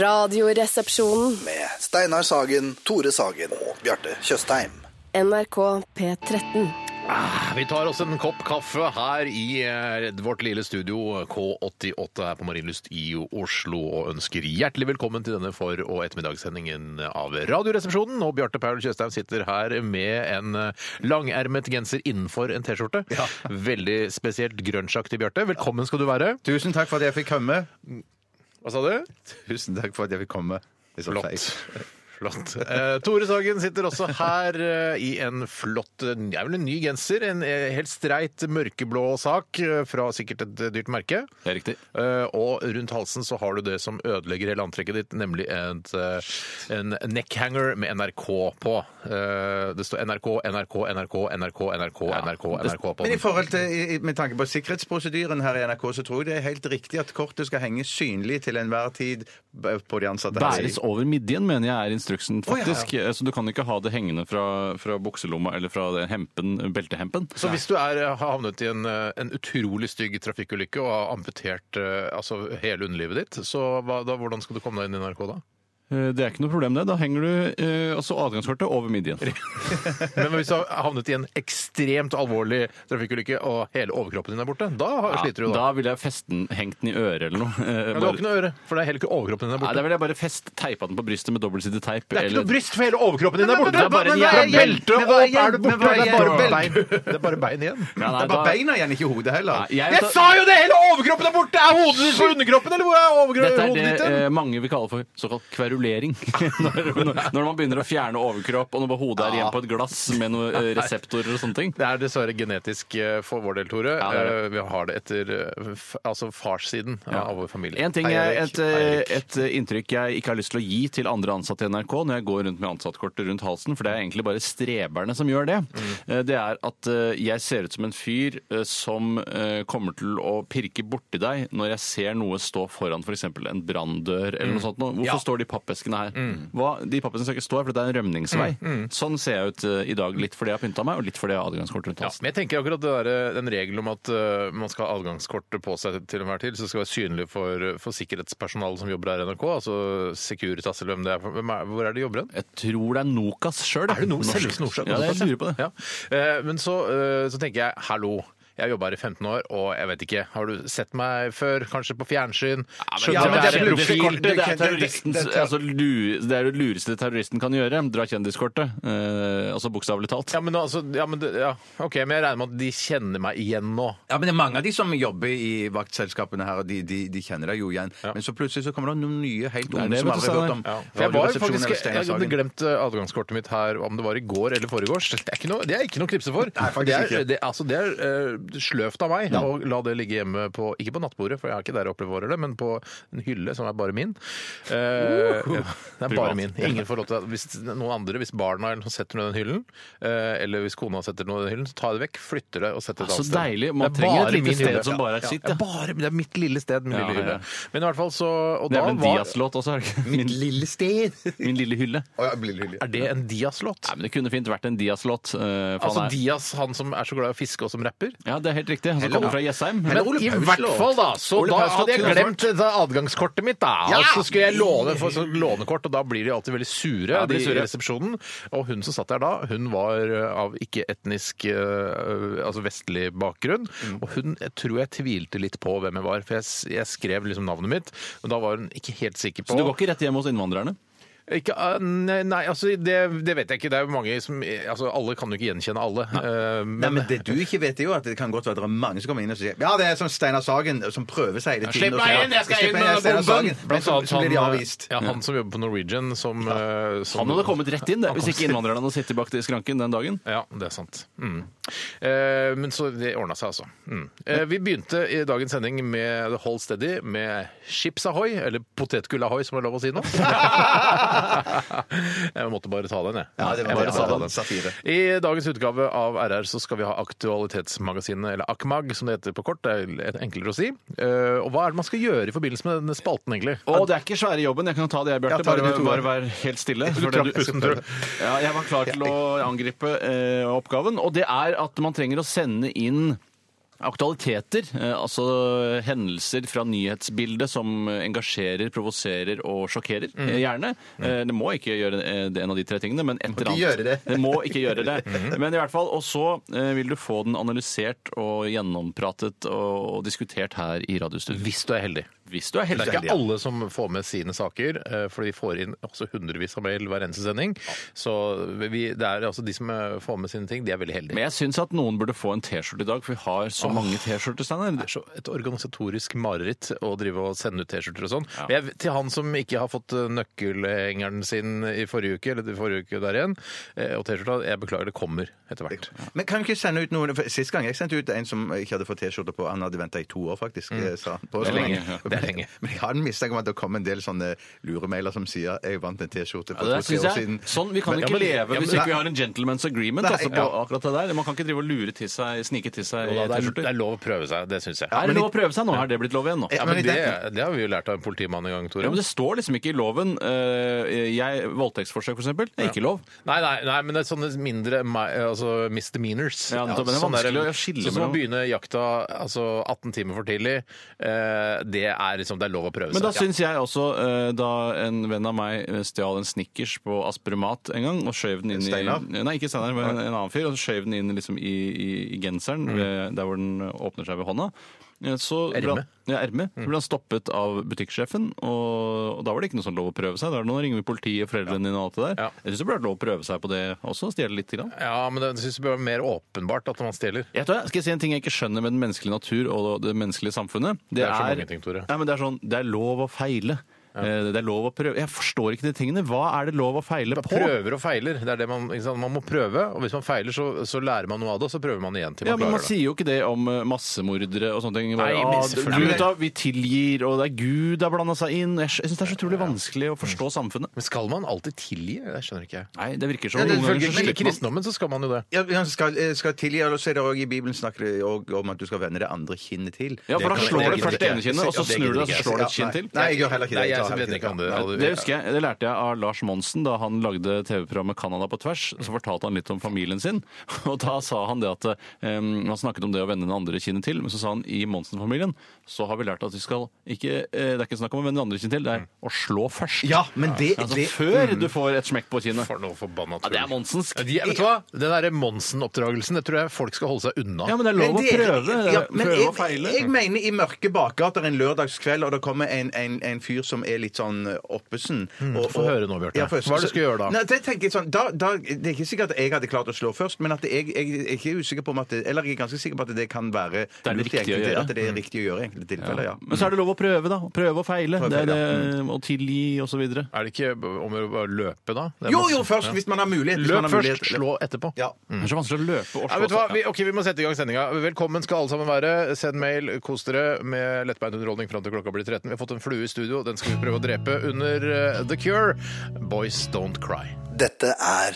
Radioresepsjonen. med Steinar Sagen, Tore Sagen og Bjarte Tjøstheim. NRK P13. Vi tar oss en kopp kaffe her i eh, vårt lille studio K88 her på Marienlyst i Oslo og ønsker hjertelig velkommen til denne for- og ettermiddagssendingen av Radioresepsjonen. Og Bjarte Paul Tjøstheim sitter her med en eh, langermet genser innenfor en T-skjorte. Veldig spesielt grønnsjaktig, Bjarte. Velkommen skal du være. Tusen takk for at jeg fikk komme. Hva sa du? Tusen takk for at jeg fikk komme. Det er så feil. Flott. Flott. Eh, Tore Sagen sitter også her eh, i en flott eh, det er vel en ny genser. En eh, helt streit mørkeblå sak eh, fra sikkert et eh, dyrt merke. Det er riktig. Eh, og rundt halsen så har du det som ødelegger hele antrekket ditt, nemlig et, eh, en neckhanger med NRK på. Eh, det står NRK, NRK, NRK, NRK, NRK, NRK, NRK på Men i den. forhold til, i- i- med tanke på sikkerhetsprosedyren her i NRK, så tror jeg det er helt riktig at kortet skal henge synlig til enhver tid b- på de ansatte. her. Bæres over midjen, mener jeg er instruksen, faktisk. Eh, Så du kan ikke ha det hengende fra, fra bukselomma eller fra det hempen, beltehempen. Så hvis du er, har havnet i en, eh, en utrolig stygg trafikkulykke og har amputert eh, altså hele underlivet ditt, så hva, da, hvordan skal du komme deg inn i NRK da? Eh, Det er ikke noe problem, det. Da henger du eh, altså adgangskortet over midjen. Men hvis du har havnet i en ekstremt alvorlig trafikkulykke og hele overkroppen din er borte, da har- sliter du da. da ville jeg festen hengt den i øret eller noe. Eh, Men du har ikke noe øre, for det er hele ikke overkroppen din er Nei, borte. da ville jeg bare fest teipa den på brystet med dobbeltsidig teip. Det er ikke eller- noe bryst, for hele overkroppen din er borte! Det er bare Men en hva er jævla hjelp? Belte Men opp, hva er er du hjelp? Men borte? hva er Det er bare hjelp? bein, det er bare bein igjen. Ja, nei, Det er bare da- beina igjen, ikke hodet heller. Nei, jeg- Jeg sa jo det! Hele overkroppen er borte! Er hodet ditt på underkroppen, eller hvor er overkro- Dette er hodet ditt? det hen? eh, mange vil kalle for såkalt kverulering. når, når når man begynner å fjerne overkropp, og når hodet er igjen på et glass med noen eh, reseptorer og sånne ting. Det er dessverre genetisk eh, for vår del, Tore. Ja, det er det. Eh, Vi har det etter eh, f- altså farssiden av vår familie. En ting Hei, jeg, Erik. et, Hei, eh, Erik. et eh, inntrykk jeg ikke har lyst til å gi til andre ansatte i NRK når jeg går rundt med ansattkortet rundt halsen, for det er egentlig bare streberne som gjør det, Mm. eh, det er at eh, jeg ser ut som en fyr eh, som eh, kommer til å pirke borti deg når jeg ser noe stå foran f.eks. For en branndør eller noe sånt. nå. Hvorfor Mm. Ja. Mm. står de pappeskene her? Hva, de pappeskene skal ikke stå her, for det er en rømningsvei. Sånn ser jeg ut eh, i dag, litt fordi jeg har pynta meg, og litt fordi jeg har adgangskort rundt Ja, halsen. men jeg tenker akkurat det der, den regelen om at eh, man skal ha adgangskortet på seg til enhver tid, så det skal være synlig for, for sikkerhetspersonalet som jobber her i NRK, altså Securitas eller hvem det er. for- Hvem er hvor er det de jobber hen? Jeg tror det er Nokas sjøl. Er det noe selveste Norsak? Ja, jeg lurer på det. Ja. Eh, Men så, eh, så tenker jeg hallo. Jeg har jobba her i 15 år, og jeg vet ikke Har du sett meg før? Kanskje på fjernsyn? Skjønner Ja, at men det, jeg er en profil. kjendiskortet. Det er det- terroristens- det- det- altså, lu- det er det lureste terroristen kan gjøre. Dra kjendiskortet. Eh, altså bokstavelig talt. Ja, men altså ja, men, det- ja. OK, men jeg regner med at de kjenner meg igjen nå. Ja, men det er Mange av de som jobber i vaktselskapene her, og de, de, de kjenner deg jo igjen. Men så plutselig så kommer det noen nye helt er unge det, som aldri vet du, har hørt om Steinar. sånn. For jeg var jo faktisk, Radioresepsjonen eller Steinar jeg hadde Sagen. glemt eh, adgangskortet mitt her, om det var i går eller foregårs. Det er ikke noe, det er ikke noe å knipse for. det er, Det, altså, det er eh, sløvt av meg å la det ligge hjemme på Ikke på nattbordet, for jeg har ikke der jeg oppbevarer det, men på en hylle som er bare min. Eh, ja, det er bare Privat. min. Ingen får lov til det. Hvis noen andre, hvis barna eller noe setter noe i den hyllen, eh, eller hvis kona setter noe i den hyllen, så tar jeg det vekk, flytter det og setter det et Ah, Så annet sted. deilig. Det Man er trenger bare et lite min sted hylle. som bare er Ja, sitt, ja. ja. Bare, det er mitt lille sted, min Ja, lille ja. hylle. Men i hvert fall så og Det er da vel en var- Dias-låt også, er det ikke? Min, lille sted. min lille hylle. Å, ja, blir det hyggelig. Er det en Dias-låt? Nei, men Det kunne fint vært en Dias-låt. eh, for Altså han er- Dias, han som er så glad i å fiske og som rapper? ja, det er helt riktig. Han som kommer fra Men Jessheim. Men- i hvert fall, da! Så Ole da Paus låt hadde jeg kunne vært- glemt det adgangskortet mitt, da! Og så skulle jeg låne for så lånekort, og da blir de alltid veldig sure. Ja, de, blir de- sure i resepsjonen. Og hun som satt der da, hun var eh, av ikke-etnisk eh, altså vestlig bakgrunn. Mm. Og hun jeg tror jeg tvilte litt på hvem jeg var, for jeg, s- jeg skrev liksom navnet mitt, men da var hun ikke helt sikker på Så du går ikke rett hjem hos innvandrerne? Ikke, eh, nei, nei, altså det, det vet jeg ikke. Det er jo mange som altså, Alle kan jo ikke gjenkjenne alle. eh, men- Nei, men Det du ikke vet, er jo at det kan godt være at det er mange som kommer inn og sier Ja, det er som Steinar Sagen, som prøver seg hele tiden. Slipp og meg sier, inn, jeg skal «Slipp inn meg med Steinar bomben! Sagen», Men så, så blir de avvist. eh, Ja, han som jobber på Norwegian, som, eh, som Han hadde kommet rett inn det, hvis ikke innvandrerne hadde sittet bak i skranken den dagen. Ja, det er sant. Mm. Eh, men så det ordna seg, altså. Mm. Eh, vi begynte i dagens sending med The Hold Steady med Chips Ahoy, eller Potetgull Ahoy, som er lov å si nå. jeg måtte bare ta den, jeg. Ja, det var Jeg bare måtte ta ta den. Satire. I dagens utgave av RR så skal vi ha Aktualitetsmagasinet, eller AKMAG som det heter på kort. Det er enklere å si. Eh, og hva er det man skal gjøre i forbindelse med denne spalten, egentlig? Å, det er ikke svære jobben. Jeg kan ta det, jeg, Ja, Bjarte. ta det, Bare, du to. bare vær helt stille. for det trakk pusten, tror jeg. Ja, jeg var klar til å angripe eh, oppgaven, og det er at man trenger å sende inn Aktualiteter, eh, altså hendelser fra nyhetsbildet som eh, engasjerer, provoserer og sjokkerer. Mhm. eh, Gjerne. Eh, Det må ikke gjøre eh, det- en av de tre tingene, men et eller ikke annet. gjøre det. Mhm. må ikke gjøre det. Men i hvert fall, og så eh, vil du få den analysert og gjennompratet og og diskutert her i radiostudio. Hvis du er heldig. Hvis du er Det heldig. er ikke alle som får med sine saker, eh, for de får inn også hundrevis av mail hver eneste sending. Så vi, det er altså de som eh, får med sine ting, de er veldig heldige. Men jeg syns at noen burde få en T-skjorte i dag, for vi har så mange T-skjorter, Det Steinar. er så et organisatorisk mareritt å drive og sende ut T-skjorter og sånn. Men jeg- Til han som ikke har fått eh, nøkkelhengeren sin i forrige uke, eller i forrige uke der igjen, eh, og T-skjorta, jeg beklager, det kommer etter hvert. Men kan vi ikke sende ut noen for Sist gang jeg sendte ut en som ikke hadde fått T-skjorte på, han hadde venta i to år, faktisk. Mm. eh, Sa han på, Det er Så- lenge, ja. Det er lenge. Men jeg har en mistanke om at det kom en del sånne luremailer som sier 'jeg vant en T-skjorte for Ja, det to-tre synes år jeg. siden'. Sånn, Vi kan Men- ikke ja, men- leve hvis ja, men- ikke vi har en gentleman's agreement Nei, altså, på ja. akkurat det der. Man kan ikke drive og lure til seg, snike til seg Og da, det, er, det T-skjorter. er lov å prøve seg, det syns jeg. Er det lov å prøve seg nå? Har det blitt lov igjen nå? Ja, Ja, men men i det, den- det har vi jo lært av en politimann en gang, Tore. Ja, men Det står liksom ikke i loven. eh, jeg, voldtektsforsøk, for eksempel, det er ikke lov. Nei, nei, nei, men det er sånne mindre mi- altså misdemeanors. Ja, nettopp, men det er sånn vanskelig der- å skille Sånn som å mellom- begynne jakta altså 18 timer for tidlig, eh, det er liksom, det er lov å prøve Men da seg. syns jeg også, eh, da en venn av meg eh, stjal en Snickers på Asprumat en gang og skjøv den inn i Steinar? Nei, ikke Steinar, men en annen fyr. Og så skjøv den inn liksom i, i, i genseren, ved, der hvor den åpner seg ved hånda. Eh, Så ble Erme. han- Ja, erme. Så ble han stoppet av butikksjefen, og, og da var det ikke noe sånn lov å prøve seg. Da er det nå ringer vi politiet, foreldrene dine og alt det der. Ja. Jeg syns det burde vært lov å prøve seg på det også, stjele litt. Grann. Ja, ja men det syns jeg bør være mer åpenbart at man stjeler. Jeg tror jeg skal jeg si en ting jeg ikke skjønner med den menneskelige natur og det menneskelige samfunnet. Det er så mange ting, Tore. Nei, men det er sånn, det er lov å feile. Eh, Det er lov å prøve. Jeg forstår ikke de tingene. Hva er det lov å feile på? Prøver og feiler. Det er det man, ikke sant? man må prøve, og hvis man feiler, så, så lærer man noe av det, og så prøver man igjen til Ja, man men Man klarer det. sier jo ikke det om eh, massemordere og sånne ting. Bare, Nei, men ah, selvfølgelig. du vet da, vi tilgir, og det er Gud har blanda seg inn. Jeg syns det er så utrolig vanskelig å Mm. forstå samfunnet. Men skal man alltid tilgi? Det skjønner ikke jeg. Nei, det virker som Ja, det noen følger Men ganger så i slipper man. kristendommen så skal man jo det. Ja, men skal, eh, skal tilgi, og så er det også, I Bibelen snakker det også om at du skal vende det andre kinnet til. Ja, for da kan- slår det du først gidder det ene ikke. kinnet, og så Ja, det snur du gidder deg, så ikke. slår du Ja, et kinn nei. til. Nei, jeg gjør heller ikke det. Nei, tar jeg heller vet ikke ikke om det. Ja. Det husker jeg, det lærte jeg av Lars Monsen da han lagde TV-programmet Canada på tvers. Så fortalte han litt om familien sin, og da sa han det at em, Han snakket om det å vende den andre kinnet til, men så sa han i Monsen-familien så har vi lært at vi skal ikke eh, Det er ikke snakk om å vende det andre kinnet til, det er å slå først. Ja, men det, altså det før du får et smekk på kinnet. For noe forbanna Ja, det er monsensk. Ja, de, vet du hva? Den derre Monsen-oppdragelsen, det tror jeg folk skal holde seg unna. Ja, men det er lov å det- prøve. det er eh, ja, men prøve jeg, og feile. jeg mener i mørke bakgater en lørdagskveld, og det kommer en, en, en fyr som er litt sånn eh, oppesen. og- få og- Mm, høre nå, Bjarte. Ja, først- Hva er det du skal gjøre da? Nei, det, tenker jeg sånn, da, da? Det er ikke sikkert at jeg hadde klart å slå først, men at jeg, jeg, jeg er ikke usikker på om at det, Eller jeg er ganske sikker på at det kan være er lurt i riktig enkelte- å gjøre. At det er Mm. riktig å gjøre i enkelte tilfeller, ja. Men så er det lov å prøve, da. Å Prøve og feile. Prøve og det er feile, det, eh, Å tilgi og så videre. Er det ikke om å bare løpe, da? Det er Jo, Monsen. jo, først, Ja. hvis man har mulighet. hvis man Løp har først, mulighet. slå etterpå. Ja. Det er så vanskelig å løpe og Ja, slå vet du hva? seg. Vi, ok, vi må sette i gang sendinga. Velkommen skal alle sammen være. Send mail, kos dere med lettbeint underholdning fram til klokka blir 13. Vi har fått en flue i studio, den skal vi prøve å drepe under eh, The Cure. Boys Don't Cry. Dette er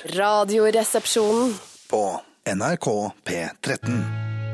Radioresepsjonen. på NRK P13.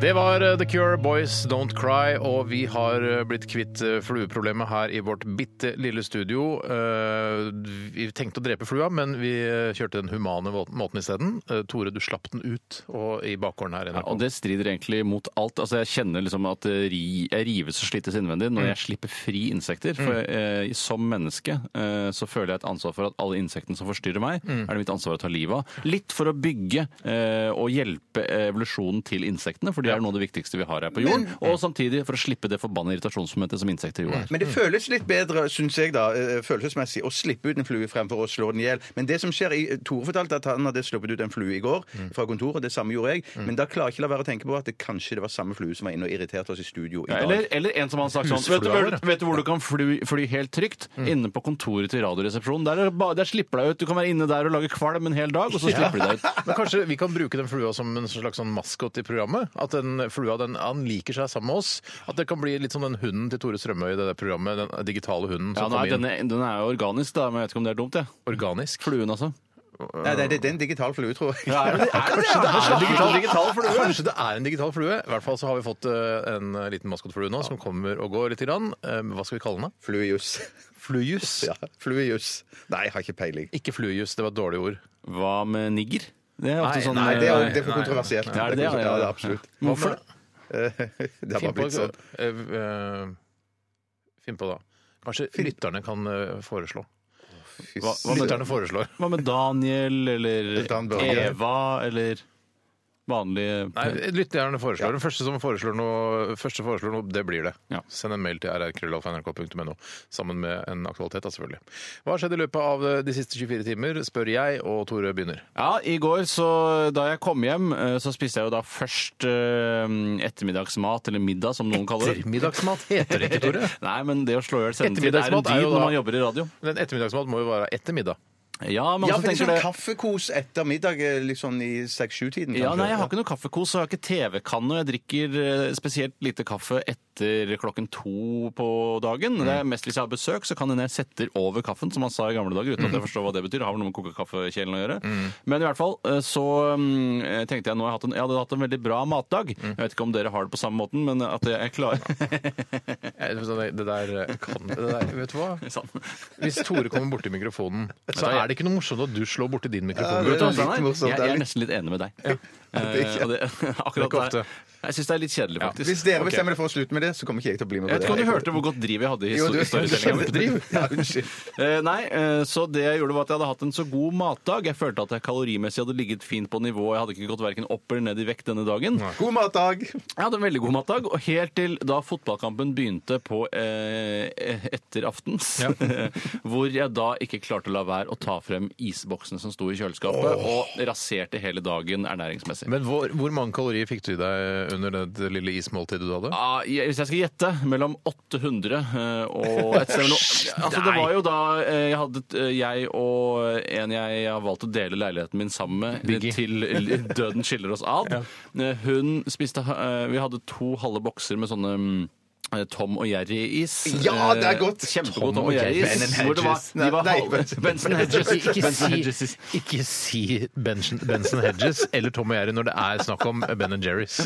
Det var eh, The Cure, Boys Don't Cry, og vi har eh, blitt kvitt eh, flueproblemet her i vårt bitte lille studio. Eh, Vi tenkte å drepe flua, men vi eh, kjørte den humane må- måten isteden. Eh, Tore, du slapp den ut og i bakgården her. i Ja, NRK. og det strider egentlig mot alt. Altså, jeg kjenner liksom at det ri, jeg rives og slites innvendig Mm. når jeg slipper fri insekter. For eh, som menneske eh, så føler jeg et ansvar for at alle insektene som forstyrrer meg, Mm. er det mitt ansvar å ta livet av. Litt for å bygge eh, og hjelpe evolusjonen til insektene, for det er noe av det viktigste vi har her på jorden. Og samtidig for å slippe det forbanna irritasjonsmomentet som insekter Mm. jo er. Men det føles litt bedre, syns jeg, da, eh, følelsesmessig, å slippe ut en flue fremfor å slå den i hjel. Men det som skjer i, eh, Tore fortalte at han hadde sluppet ut en flue i går Mm. fra kontoret. Det samme gjorde jeg. Men da klarer jeg ikke la være å tenke på at det kanskje det var samme flue som var inne og irriterte oss i studio i dag. Eller, eller en som har sagt sånn Husflua Vet du, vår, ja. Mm. vet du hvor du kan fly, fly helt trygt? Inne på kontoret til Radioresepsjonen. Der, er det ba- der slipper deg ut. Du kan være inne der og lage kvalm en hel dag, og så slipper de deg ut. Men kanskje vi kan bruke den flua som en slags sånn maskot i programmet? At den flua den, han liker seg sammen med oss? At det kan bli litt som den hunden til Tore Strømøy i det der programmet? Den digitale hunden Ja, Sånn som nå kom er inn denne, den er jo organisk, da, men jeg vet ikke om det er dumt. jeg. organisk? Fluen, altså. Nei, nei, det det er en digital flue, tror jeg. Ja, er det- er det- Kanskje det er en digital, digital flue? Kanskje det er en digital flue? I hvert fall så har vi fått eh, en liten maskotflue nå som kommer og går litt. Grann. Eh, Hva skal vi kalle den? da? Fluejus. Flujus? Ja, fluejus. Nei, jeg har ikke peiling. Ikke flujus, det var et dårlig ord. Hva med nigger? Det er ofte Nei, sånn nei, Nei, det er, nei, det er for nei. kontroversielt. Ja, er det det? Ja, det er absolutt. Hvorfor? Eh, Det har Finn bare på, blitt sånn. eh, eh, finn på da. Kanskje lytterne kan eh, foreslå. Fy Hva- hva søren. med Lytterne foreslår. Hva med Daniel eller Dan Børge. Eva eller vanlige Nei, lytterne foreslår. Den første som foreslår noe, første foreslår noe, det blir det. Ja. Send en mail til rrkrøllalfa.nrk.no sammen med en aktualitet, da, selvfølgelig. Hva har skjedd i løpet av eh, de siste 24 timer, spør jeg, og Tore begynner. Ja, i går så da jeg kom hjem, eh, så spiste jeg jo da først eh, ettermiddagsmat, eller middag som noen kaller det. Ettermiddagsmat heter det ikke, Tore. Nei, men det å slå i hjel sendetid er en Ettermiddagsmat er dyd jo når da- man jobber i radio. Men ettermiddagsmat må jo være etter middag. Ja, men Ja, også for det er tenker sånn det... kaffekos etter middag, eh, litt sånn i 6-7-tiden. Ja, kanskje. nei, Jeg har ikke noe kaffekos, og jeg har ikke TV-kanne. og Jeg drikker eh, spesielt lite kaffe etter klokken to på dagen. Det Mm. er mest hvis jeg har besøk, så kan hende jeg setter over kaffen, som man sa i gamle dager, uten at Mm. jeg forstår hva det betyr. Det har vel noe med kokekaffekjelen å gjøre. Men i hvert fall eh, så mm, eh, tenkte jeg nå har jeg, hatt en, jeg hadde hatt en veldig bra matdag. Mm. Jeg vet ikke om dere har det på samme måten, men at jeg er klar Eh, sånn, Det der eh, kan det der, Vet du hva? Sånn. Hvis Tore kommer borti mikrofonen, så er det ikke noe morsomt at du slår borti din mikrofon. Ja, Vet du hva, litt Steinar? morsomt, Jeg, det er jeg er litt- nesten litt enig med deg. er Eh, og det, akkurat ikke der. ofte. Jeg syns det er litt kjedelig, faktisk. Hvis dere Ok. bestemmer dere for å slutte med det, så kommer ikke jeg til å bli med Jeg på vet det. ikke om du hørte hvor godt driv jeg hadde i Jo, du- historietellinga. Ja, unnskyld. Eh, nei, eh, så det jeg gjorde var at jeg hadde hatt en så god matdag. Jeg følte at jeg kalorimessig hadde ligget fint på nivå. Jeg hadde ikke gått hverken opp eller ned i vekt denne dagen. God matdag! Jeg hadde en veldig god matdag, og helt til da fotballkampen begynte på eh, etter aftens, hvor jeg da ikke klarte å la være å ta frem isboksene som sto i kjøleskapet, og raserte hele dagen ernæringsmessig. Men hvor, hvor mange kalorier fikk du i deg under det lille ismåltidet du hadde? Ja, jeg- Ah, hvis jeg skal gjette, mellom 800 eh, og et sted mellom- Altså, det var jo da eh, jeg hadde eh, jeg og en jeg har valgt å dele leiligheten min sammen med, eh, Biggie. til døden skiller oss ad. Eh, Hun spiste eh, Vi hadde to halve bokser med sånne mm, eh, Tom og Jerry-is. Ja, det er godt. Tom Kjempegod Tom og og Ben Jerry-is. and hvor det var- Hedges. de var Nei, halve- Benson Hedges. Ikke Benson si, Hedges. ikke si Benson, Benson Hedges eller Tom og Jerry når det er snakk om Ben Jerrys.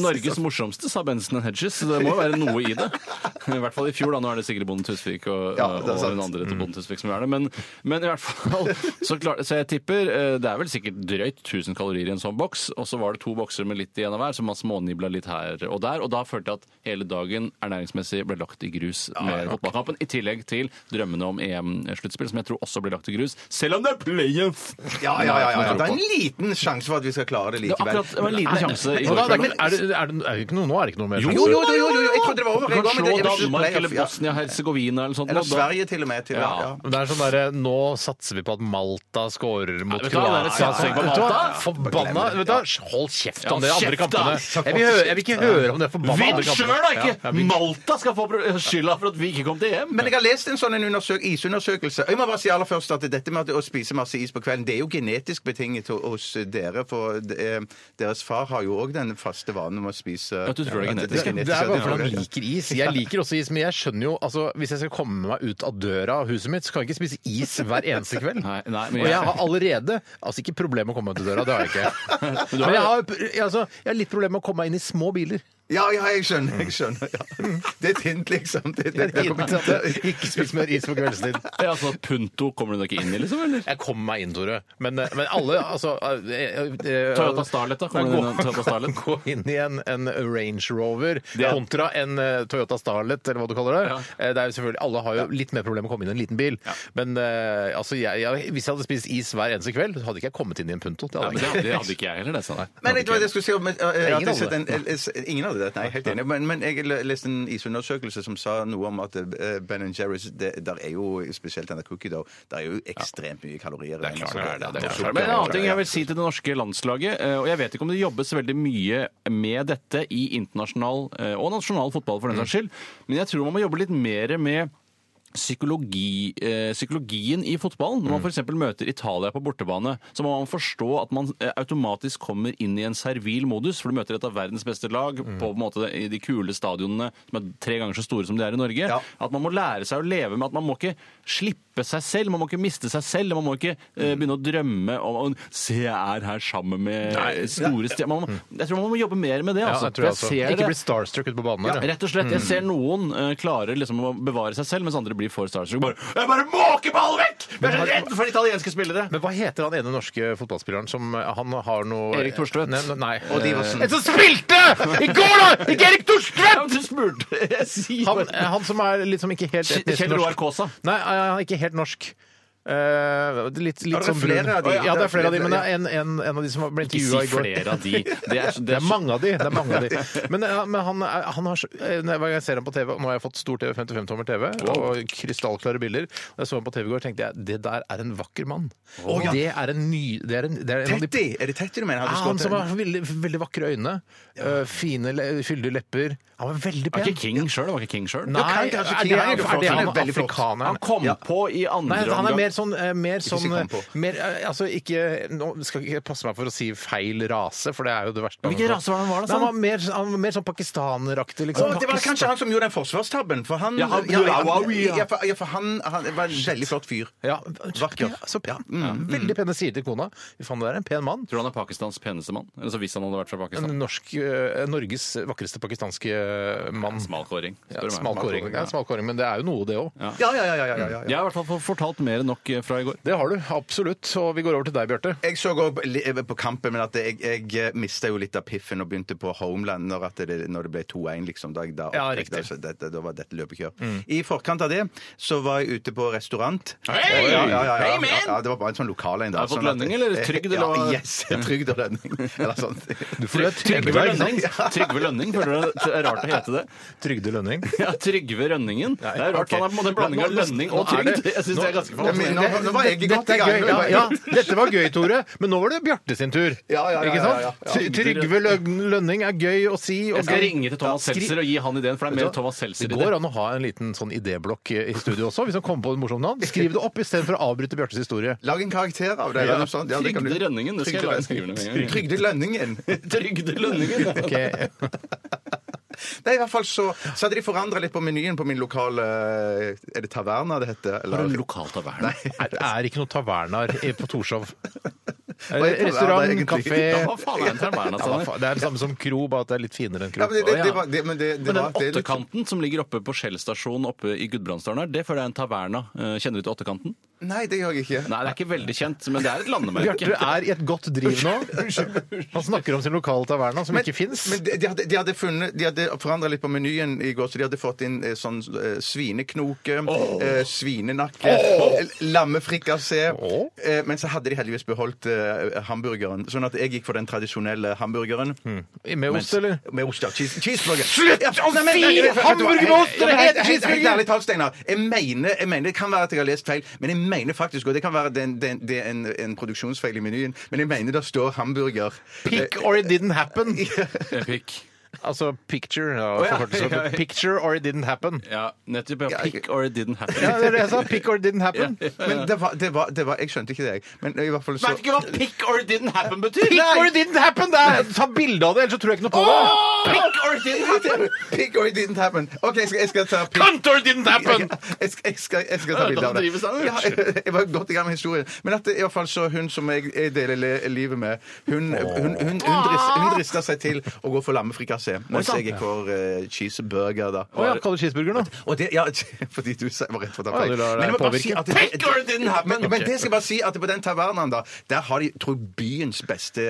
Norges morsomste, sa Benson and Hedges. Så det må jo være noe i det. I hvert fall i fjor, da. Nå er det sikkert Bonde Tusvik og, Ja, det er og sant. den andre til Bonde Tusvik som gjør det. Men, men i hvert fall så, klar, så jeg tipper eh, Det er vel sikkert drøyt 1000 kalorier i en sånn boks. Og så var det to bokser med litt igjen av hver, så man smånibla litt her og der. Og da følte jeg at hele dagen ernæringsmessig ble lagt i grus med fotballkampen. I tillegg til drømmene om EM-sluttspill, som jeg tror også ble lagt i grus. Selv om det er playoff! Ja, ja, ja, ja, ja. Det Det er er en en liten sjanse for at vi skal klare det Det var likevel. akkurat det var en liten sjanse i Nå går er det kveld. ikke- er det- er det- er det ikke noe nå? Er det ikke noe mer? Jo, jo, jo, jo, jo, jo, jeg trodde det var over. Du Jeg kan går med det. Jeg slå vil slutte Danmark eller playoff, ja. Bosnia-Hercegovina eller sånt. Eller og da- Sverige til og med. Til, og med, Ja. ja. Men Det er sånn derre Nå satser vi på at Malta scorer mot vet du hva, det er Kroatia. et satsing på Vet du hva? Malta. Forbanna vet du hva? Hold kjeft om de Ja, andre kjeft, da. kampene. Jeg vil, høre, jeg vil ikke høre om de forbanna Vinn andre sjøl, kampene. da! Ja, Ikke jeg vil- Malta skal få pro- skylda for at vi ikke kom til EM! Men jeg har lest en sånn en undersøk, isundersøkelse. Jeg må bare si aller først at dette med at å spise masse is på kvelden, det er jo genetisk betinget ho- hos dere. For de- eh, deres far har jo òg den faste vanen med å spise Ja, du tror det er Ja, genetisk? Det er bare fordi ja, det han er det. liker is. Jeg liker også is, men jeg skjønner jo altså, Hvis jeg skal komme meg ut av døra av huset mitt, så kan jeg ikke spise is hver eneste kveld. Nei, nei, men Og jeg jeg- har allerede Altså, ikke problem med å komme meg ut av døra, det har jeg ikke. Men jeg har, altså, jeg har litt problem med å komme meg inn i små biler. Ja, ja, jeg skjønner. jeg skjønner. Ja. Det er tynt, liksom. Det, det, det, kommer til å- Ikke spis mer is på kveldstid. Ja, altså, Punto kommer du da ikke inn i, liksom? eller? Jeg kommer meg inn, Tore. Men, men alle, altså eh, eh, Toyota Starlet, da. Kommer Nei, du inn i en Toyota Starlet? Gå inn i en, en Range Rover er- kontra en eh, Toyota Starlet, eller hva du kaller det. Ja. Eh, Det er jo selvfølgelig, Alle har jo litt mer problemer med å komme inn i en liten bil. Men eh, altså, jeg, jeg, hvis jeg hadde spist is hver eneste kveld, så hadde ikke jeg kommet inn i en Punto. Det Ja, men hadde jeg ikke. det, det hadde ikke jeg heller, det. sa jeg. Men jeg, tror jeg skulle si om, eh, at jeg Ingen sett hadde en- eh, ingen hadde det. Nei, helt enig. Men, men jeg le- leste en isundersøkelse som sa noe om at eh, Ben Jerry's det, Der er jo spesielt denne cookie dough. Der er jo ekstremt mye kalorier. Det er klart det er det, det er klart. Men en annen ting jeg vil si til det norske landslaget, eh, og jeg vet ikke om det jobbes veldig mye med dette i internasjonal eh, og nasjonal fotball for den saks skyld, men jeg tror man må jobbe litt mer med Psykologi, eh, psykologien i fotballen. Når man f.eks. møter Italia på bortebane, så må man forstå at man eh, automatisk kommer inn i en servil modus, for du møter et av verdens beste lag på en måte i de kule stadionene som er tre ganger så store som de er i Norge. Ja. At man må lære seg å leve med at man må ikke slippe seg selv, man må ikke miste seg selv, man må ikke Mm. eh, begynne å drømme om om, Se, jeg er her sammen med store stjerner Man må- Jeg tror man må jobbe mer med det. Ja, Altså. jeg tror jeg også. ser Ikke det. bli starstruck ute på banen. Ja, der, ja. Mm. rett og slett. Jeg ser noen eh, klarer liksom å bevare seg selv, mens andre blir for starstruck. Bare, jeg bare måker ballen vekk! Jeg er så redd for italienske spillere! Men hva heter han ene norske fotballspilleren som eh, han har noe Erik Thorstvedt. Nei, nei. Eh, Og Diversen. En som spilte i går, da! Ikke Erik Ja, men Thorstvedt! du spurte! Jeg sier Han, bare eh, han som er liksom ikke helt Kjell etnisk Roar norsk. Kaasa. Nei, eh, han er ikke helt norsk. Eh, litt Ja, litt det er sånn flere brun. av de. Ja, det er flere av de, men det er en, en, en av de som ble Ikke si intervjua i går. flere av de. Det er, Det er mange av de. det er mange av de. Men, ja, men han, er- han har så- eh, Når jeg ser ham på TV, og nå har jeg fått stor TV, 55-tommer TV, og krystallklare bilder og Jeg så ham på TV i går tenkte jeg det der er en vakker mann. Og det er en ny det er en, det er en av de Tetti! Er det Tetti du mener? ja, hadde han slått- som har veldig, veldig vakre øyne, øh, fine, le- fyldige lepper. Han var veldig Var pen. ikke King sjøl? Var ikke King selv? Nei, kan er ikke- det, altså, er King det er jo flott. Han han er veldig flott. afrikaneren? Han kom på i andre Nei, han er omgang. mer sånn, eh, mer sånn si eh, kom på. mer, eh, Altså ikke Nå skal ikke jeg passe meg for å si feil rase, for det er jo det verste. Hvilken rase var han var da, sa Nei, han var mer, han var mer sånn pakistaneraktig, Å, liksom. det var kanskje han som gjorde den forsvarstabben, for han Ja, han- ja, for, ja, for han, han var en veldig flott fyr. ja, Vakker. Ja, Så pen. Mm. Veldig pene sider til kona. Fy faen, det er en pen mann. Tror du han er Pakistans peneste mann? Altså hvis han hadde vært fra En Pakistan. norsk, eh, Norges vakreste pakistanske eh, mann. Smalkåring. Ja, Smalkåring. Ja, smalkåring, men det er jo noe, det òg. Ja, ja, ja, ja, ja, ja, ja. Jeg har i hvert fall fått fortalt mer enn nok eh, fra i går. Det har du, absolutt. Og vi går over til deg, Bjarte. Jeg så òg på kampen, men at jeg, jeg mista jo litt av piffen og begynte på homeland når, at det, når det ble 2-1. liksom. Da, jeg da, Ja, oppdaget riktig. altså det, det, da var dette løpekjør. Mm. I forkant av det så var jeg ute på restaurant. Hey! ja, ja, ja, ja. Hey, man! Ja, det var bare en sånn lokal en. da, Har du fått sånn at- lønning, eller trygd, eller Ja, hva? yes, trygd og lønning. Eller sånn. sånt. Trygve Lønning. Trygve Lønning, føler du det er rart å hete det? Trygde Lønning. Ja, Trygve Rønningen. Det er rart ok. han er på en måte en blanding av Nå- nå- lønning nå og er trygd. det- Jeg syns det er ganske Ja, men fantastisk. nå, nå var jeg godt Dette i er gang. gøy. Ja, ja. Dette var gøy, Tore, men nå var det Bjarte sin tur. Ja, ja, ja, Ikke ja, sant? ja, Ty- Trygve Løgn- Lønning er gøy å si. og Jeg skal gøy- ringe til Thomas Ja, skri- Seltzer og gi han ideen, for det er Vet mer du hva? Thomas Seltzer i Det det. går an å ha en liten sånn idéblokk i i studio også, hvis han kommer på et morsomt navn. Skriv det opp istedenfor å avbryte Bjørtes historie. Lag en karakter av det. eller noe sånt. Ja, det kan du- Trygde Rønningen. Det skal jeg Trygde lage en skrivende med en gang. Trygde Lønningen. Trygde Lønningen. ja. Ok. Nei, i hvert fall så, så hadde de forandra litt på menyen på min lokale eh, Er det taverna det heter? Har Eller? du en lokal taverne? Er, er ikke noe tavernar i- på Torshov. er taverna Restaurant, egentlig? Ja, kafé hva faen er en taverne? Ja, hva Steinar? faen, Det er det samme som kro, bare at det er litt finere enn kro. Ja, men det, det, Å, ja. det var, det, men det, det var, Men den det er litt- åttekanten som ligger oppe på Skjell stasjon oppe i Gudbrandsdalen her, det føler jeg er en taverna. Eh, Kjenner du til åttekanten? Nei, det gjør jeg ikke. Nei, det er ikke veldig kjent, men det er et Bjarte landemerke. er i et godt driv nå. Han snakker om sin lokale taverna, som ikke fins. men de, de hadde, de hadde, funnet- de hadde forandra litt på menyen i går, så de hadde fått inn eh, sånn eh, svineknoke, eh, svinenakke, eh, lammefrikassé Åh. eh, Men så hadde de heldigvis beholdt eh, hamburgeren, sånn at jeg gikk for den tradisjonelle hamburgeren. Med ost, eller? Med ost, ja. Cheese, cheeseburger. Slutt å hamburger med ost, det heter cheeseburger! Helt ærlig talt, Steinar. Jeg mener, jeg mener, det kan være at jeg har lest feil, men jeg mener faktisk, og det kan være det er en- det er en- det er en, en produksjonsfeil i menyen, men jeg mener det står hamburger. Pick or it didn't happen. Pikk. Altså picture. Ja, ja, forkortelse. ja, ja. Picture or it didn't happen. Ja, nettopp. Ja. Ja, Pick or it didn't happen. Ja, det er det jeg sa. Pick or it didn't happen. Ja. Men det var, det var, det var Jeg skjønte ikke det, jeg. Men i hvert fall så Vet ikke hva pick or it didn't happen betyr! Pick or it didn't happen! Det er, ta bilde av det, ellers så tror jeg ikke noe på det. Pick or it didn't happen! Pick or it didn't happen. OK, jeg skal, jeg skal ta pick. Cunt or it didn't happen! Jeg skal, jeg skal, jeg skal ta bilde av det. driver sandwich. Ja, jeg, jeg var godt i gang med historien. Men at det, i hvert fall så hun som jeg, jeg deler le- livet med, hun, hun, hun, hun, drist, hun drista seg til å gå for lammefrikassé. Mens jeg gikk for eh, cheeseburger, da. Å ja, kaller det cheeseburger nå. Og det, ja, fordi du sa- var rett for å ta Oi, du lar deg Men jeg må bare påvirke. si at Pick or it didn't happen! Men, men det skal jeg bare si at på den tavernaen, da, der har de, tror jeg, byens beste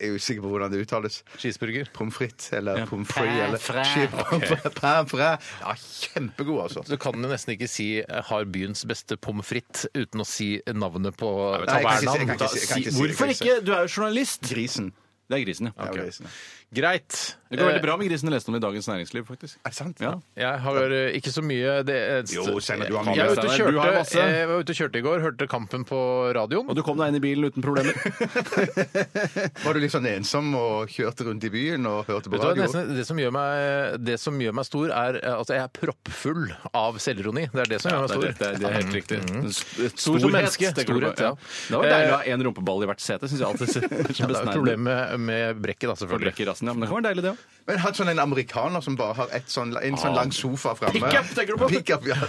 Jeg er usikker på hvordan det uttales. Cheeseburger. Pommes frites eller pommes frites pain eller frais. chip- Pommes frites. Ja, kjempegod, altså. Du kan jo nesten ikke si eh, 'har byens beste pommes frites' uten å si navnet på Nei, jeg kan ikke si- tavernaen. jeg kan ikke si- jeg kan ikke si- jeg Hvorfor kan ikke? Du er jo journalist. Grisen. Det er grisen, ja. Ja, Ok. grisen. Greit. Det går veldig bra med grisen. Jeg leste om det i Dagens Næringsliv, faktisk. Er det sant? Ja. Jeg har eh, ikke så mye det, eh, Jo, Steinar, du har mye. Jeg var ute og Steinar, du har kjørte, masse. jeg var ute og kjørte i går, hørte kampen på radioen. Og du kom deg inn i bilen uten problemer. Var du litt sånn ensom og kjørte rundt i byen og hørte på Vet du hva, radio? nesten, det, som gjør meg, det som gjør meg stor, er eh, altså, jeg er proppfull av selvironi. Det er det som gjør meg stor. Mm, Det er, det er, det er helt riktig. Storhet, Stor som menneske. tenker du på. Storhet, ja. Eh. Det var deilig å ha én rumpeball i hvert sete, syns jeg alltid. Ja, det er jo et problem med, med brekket, da, selvfølgelig. Brekker rassen, ja, men det kan være deilig, det òg. Men hatt sånn en amerikaner som bare har et sånn, en sånn lang sofa framme. Pickup, tenker du på? Pickup, ja.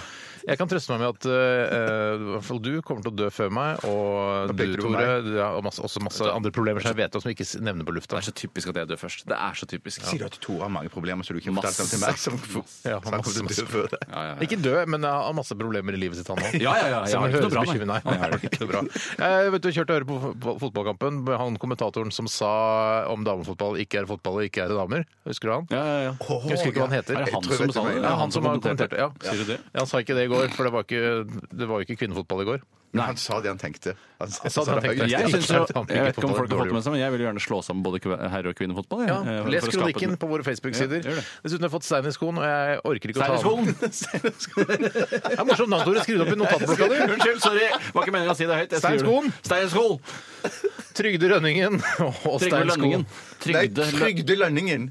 Jeg kan trøste meg med at eh, i hvert fall du kommer til å dø før meg, og Da du, peker du på Tore, du har masse, også masse andre problemer som jeg vet om som jeg ikke s- nevner på lufta. Det er så typisk at jeg dør først. Det er så typisk. Sier du at Tore har mange problemer som du ikke har Masse. fortalt om til meg? Som, Ja, som kommer til å dø før deg. Ja, ja, ja. Ikke dø, men jeg har masse problemer i livet sitt, han òg. Ja, ja, ja, jeg har ikke noe bra, nei. Nei, nei, jeg har det ikke noe bra. Jeg Eh, vet du, kjørte øre på fo- på fotballkampen. Han kommentatoren som sa om damefotball ikke er fotball og ikke er damer. Husker du han? Ja, ja, ja. Jeg husker ikke hva han heter. Er det han Jeg tror jeg som vet sa hvem det? jeg mener. Ja, han som har kommentert det. Ja. Sier du det? Ja, han sa ikke det i går, for det var ikke, det var jo ikke kvinnefotball i går. Men han sa det han tenkte. Han, sa det han tenkte. høyt. Jeg, Jeg synes synes jo, at han jeg vet liker ikke om folk har fotball fått med seg, men jeg vil jo gjerne slå sammen både kve- herre- og kvinnefotball. jeg, Ja, eh, for- Les for å skape kronikken den- på våre Facebook-sider. Ja, gjør det. Dessuten har jeg fått stein i skoen, og jeg orker ikke å ta Stein i skoen! Det er morsomt navn, Tore. Skriv det opp i notatblokka di. Unnskyld, sorry. Var ikke meningen å si det høyt. Jeg Stein i skriver skoen. det. Stein i skoen! Trygde Rønningen og Trygve Stein i skoen. Lønningen. Nei, Trygde Lø- Trygde Lønningen.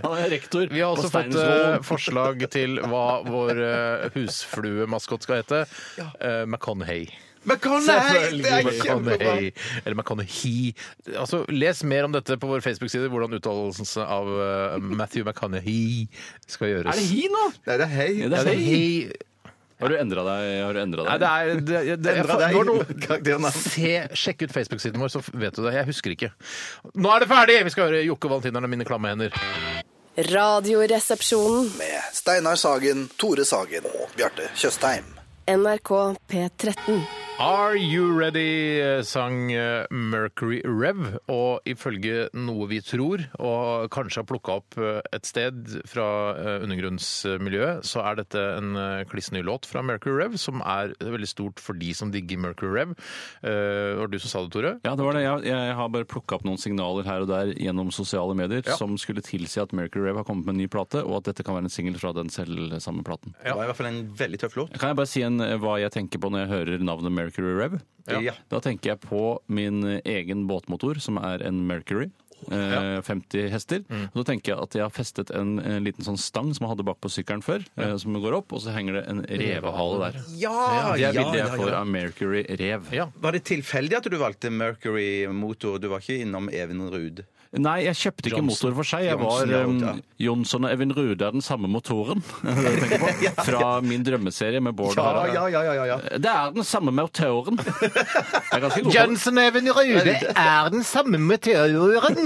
Han er rektor Vi har også på Stein i fått eh, skoen. forslag til hva vår eh, husfluemaskot skal hete. Eh, McConaughey. McConaughey! Det er kjempebra! McConaughey. Eller McConaughey. Altså, les mer om dette på vår Facebook-side, hvordan uttalelsen av eh, Matthew McConaughey skal gjøres. Er det hi nå? Nei, det er hei. Ja, Ja, det er hei. he. Har du endra deg? Har du endret Nei, deg? det er det, det, det, Endra jeg- det var deg, noe- karakternavn. Se, Sjekk ut Facebook-siden vår, så vet du det. Jeg husker ikke. Nå er det ferdig! Vi skal høre Jokke Valentineren og mine klamme hender. Radioresepsjonen. Med Steinar Sagen, Tore Sagen og Bjarte Tjøstheim. NRK P13. Are You Ready eh, sang eh, Mercury Rev, og ifølge noe vi tror, og kanskje har plukka opp eh, et sted fra eh, undergrunnsmiljøet, så er dette en eh, kliss ny låt fra Mercury Rev, som er veldig stort for de som digger Mercury Rev. Eh, Det var du som sa det, Tore. Ja, det var det. Jeg, jeg har bare plukka opp noen signaler her og der gjennom sosiale medier Ja. som skulle tilsi at Mercury Rev har kommet med en ny plate, og at dette kan være en singel fra den selv samme platen. Det var i hvert fall en veldig tøff låt. Kan jeg bare si en, eh, hva jeg tenker på når jeg hører navnet Mercury Rev? Ja. Ja. Da tenker jeg på min eh, egen båtmotor, som er en Mercury. eh, 50 hester. Mm. Og da tenker jeg at jeg har festet en, en liten sånn stang som jeg hadde bak på sykkelen før, eh, som går opp, og så henger det en revehale der. Ja, Det er bildet jeg får av Mercury Rev. Ja. Var det tilfeldig at du valgte Mercury-motor? Du var ikke innom Evenrud? Nei, jeg kjøpte ikke Johnson. motor for seg. Jeg Johnson, var um, ja, ja. Jonsson og Evin Rude er den samme motoren. er det jeg tenker på, Fra min drømmeserie med Bård og Harald. ja, ja, ja. Det er den samme motoren. Jeg er ganske god på det. Jensen Even Rude er den samme meteoren!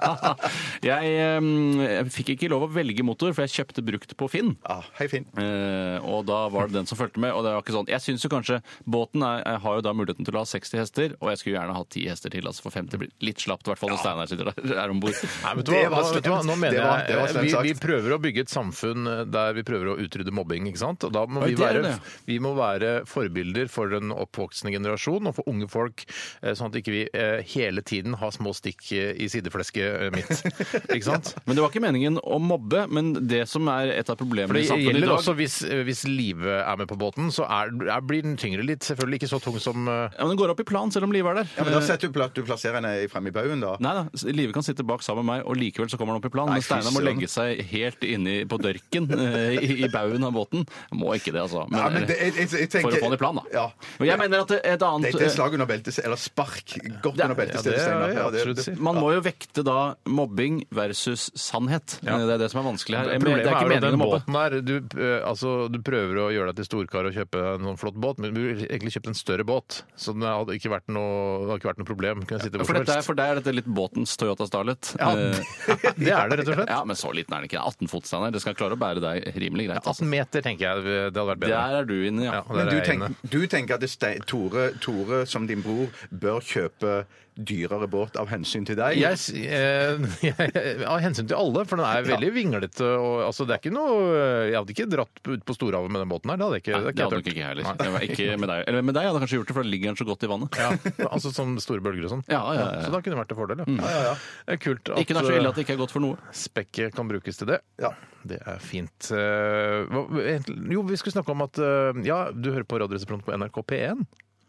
jeg, ehm, jeg fikk ikke lov å velge motor, for jeg kjøpte brukt på Finn. Ah, hei, Finn. Eh, og da var det den som fulgte med. Og det var ikke sånn, jeg synes jo kanskje Båten er, jeg har jo da muligheten til å ha 60 hester, og jeg skulle gjerne hatt 10 hester til. altså For 50 blir litt slapt, i hvert fall når Steinar sitter der er om bord. Nei, vet du Det hva, var nå- vet du hva? Nå slemt. mener Det var- det var jeg eh, slemt vi, sagt. vi prøver å bygge et samfunn eh, der vi prøver å utrydde mobbing, ikke sant? Og da må Oi, vi det er være, det. vi må være forbilder for den oppvoksende generasjon og for unge folk, eh, sånn at ikke vi eh, hele tiden har små stikk eh, i sideflesket eh, mitt. Ikke sant? Men det var ikke meningen å mobbe, men det som er et av For problemene det i samfunnet i gjelder dag også hvis, eh, hvis livet er med på båten, så er, er, blir den tyngre litt. Selvfølgelig ikke så tung som eh, Ja, men Den går opp i plan, selv om Live er der. Ja, men Da setter du pla- du plasserer henne fremme i baugen, da. Eh. Nei da, Live kan sitte bak sammen med meg, og likevel så kommer han opp i plan. Nei, men Steinar må fy søren. legge seg helt inni på dørken eh, i, i baugen av båten. Han Må ikke det, altså. Ja, men det- jeg- jeg- jeg tenker- for å få han i plan, da. Ja. Men jeg mener at et annet Det er et slag under beltestedet, eller spark godt Det- under ja, beltestedet. det er- Steinar. ja, absolutt det- si. Man må jo vekte da mobbing versus sannhet. Det er det som er vanskelig her. Jeg mener, Problemet det er ikke er jo den meningen å mobbe. båten her. Du, eh, altså, du prøver å gjøre deg til storkar og kjøpe en sånn flott båt, men du burde egentlig kjøpt en større båt. Så det hadde ikke vært noe, det hadde ikke vært noe problem. Kunne jeg sitte hvor For, som dette er, helst. for deg er dette litt båtens Toyota Starlet. Ja, Eh, det er det rett og slett. Ja, men så liten er den ikke. 18 fot, Steinar. Det skal klare å bære deg rimelig greit. Altså. 18 meter, tenker jeg. Det hadde vært bedre. Der er du inne, ja. Ja, og der Men er du jeg inne. tenker, du tenker at det ste- Tore, Tore, som din bror, bør kjøpe dyrere båt av hensyn til deg? jeg, s- eh, jeg, av hensyn til alle, for den er veldig vinglete. Og, altså, det er ikke noe, jeg hadde ikke dratt ut på storhavet med den båten her. Det hadde jeg ikke, Nei, det hadde nok ikke jeg heller. Jeg var ikke med deg. Eller med deg hadde jeg kanskje gjort det, for da ligger den så godt i vannet. Ja, altså som store bølger og sånn. Ja, ja, ja. Så da kunne det vært en fordel. Ja. Det er kult at, eh, Ikke det er så ille at det ikke er godt for noe. spekket kan brukes til det. Ja. Det er fint. Eh, hva- egentlig- Jo, vi skulle snakke om at eh, Ja, du hører på Radioresepsjonen på NRK P1.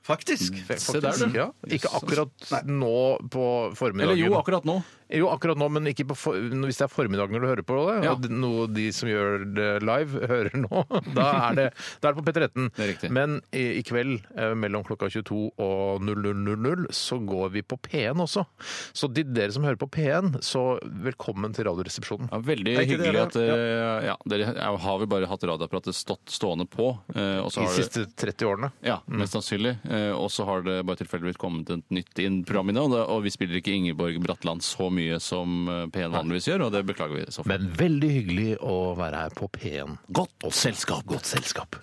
Faktisk. Fe- Se der, faktisk. du. Ja. Ikke akkurat nå på formiddagen. Eller jo, akkurat nå. Jo, akkurat nå, men ikke på for, hvis det er formiddag når du hører på det. Ja. Og d- noe de som gjør det live, hører nå. Da er det, da er det på P13. Det er riktig. Men i, i kveld eh, mellom klokka 22 og 00.00 så går vi på P1 også. Så de, dere som hører på P1, så velkommen til Radioresepsjonen. Ja, veldig Hei til dere. hyggelig at eh, ja, dere er- har vel bare hatt radioapparatet stått, stående på. eh, og så De har det- siste 30 årene. Ja, mest sannsynlig. Eh, Og så har det bare tilfeldigvis kommet et nytt inn programmet, og, det- og vi spiller ikke Ingeborg Bratland så mye som eh, P1 vanligvis gjør, og det beklager vi så fælt. Men veldig hyggelig å være her på P1. Godt selskap. Godt selskap.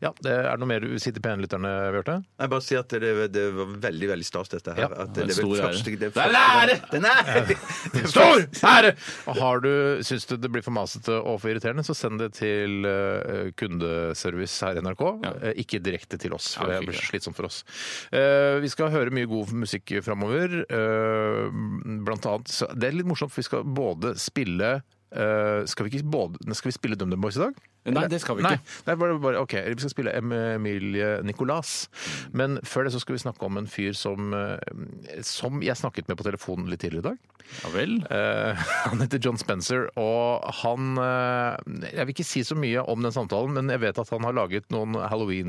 Ja, det Er det noe mer du sier til P1-lytterne, Bjarte? Jeg bare sier at det, det var veldig veldig stas, dette Ja, her. at det er en vel stor ære. første- det er Det er en første- ære! Den er! Stor ære! Og Har du, syns du det blir for masete og for irriterende, så send det til eh, kundeservice her i NRK. Ja. Eh, ikke direkte til oss, for Ja, det fy, blir ja. slitsomt for oss. Eh, vi skal høre mye god musikk framover. eh, blant annet så Det er litt morsomt, for vi skal både spille eh, skal, vi ikke både, skal vi spille DumDum Boys i dag? Nei, det skal vi Nei, ikke. det er bare, bare, ok, Vi skal spille Em- Emilie Nicolas. Men før det så skal vi snakke om en fyr som, eh, som jeg snakket med på telefonen litt tidligere i dag. Ja vel. Eh, han heter John Spencer, og han eh, Jeg vil ikke si så mye om den samtalen, men jeg vet at han har laget noen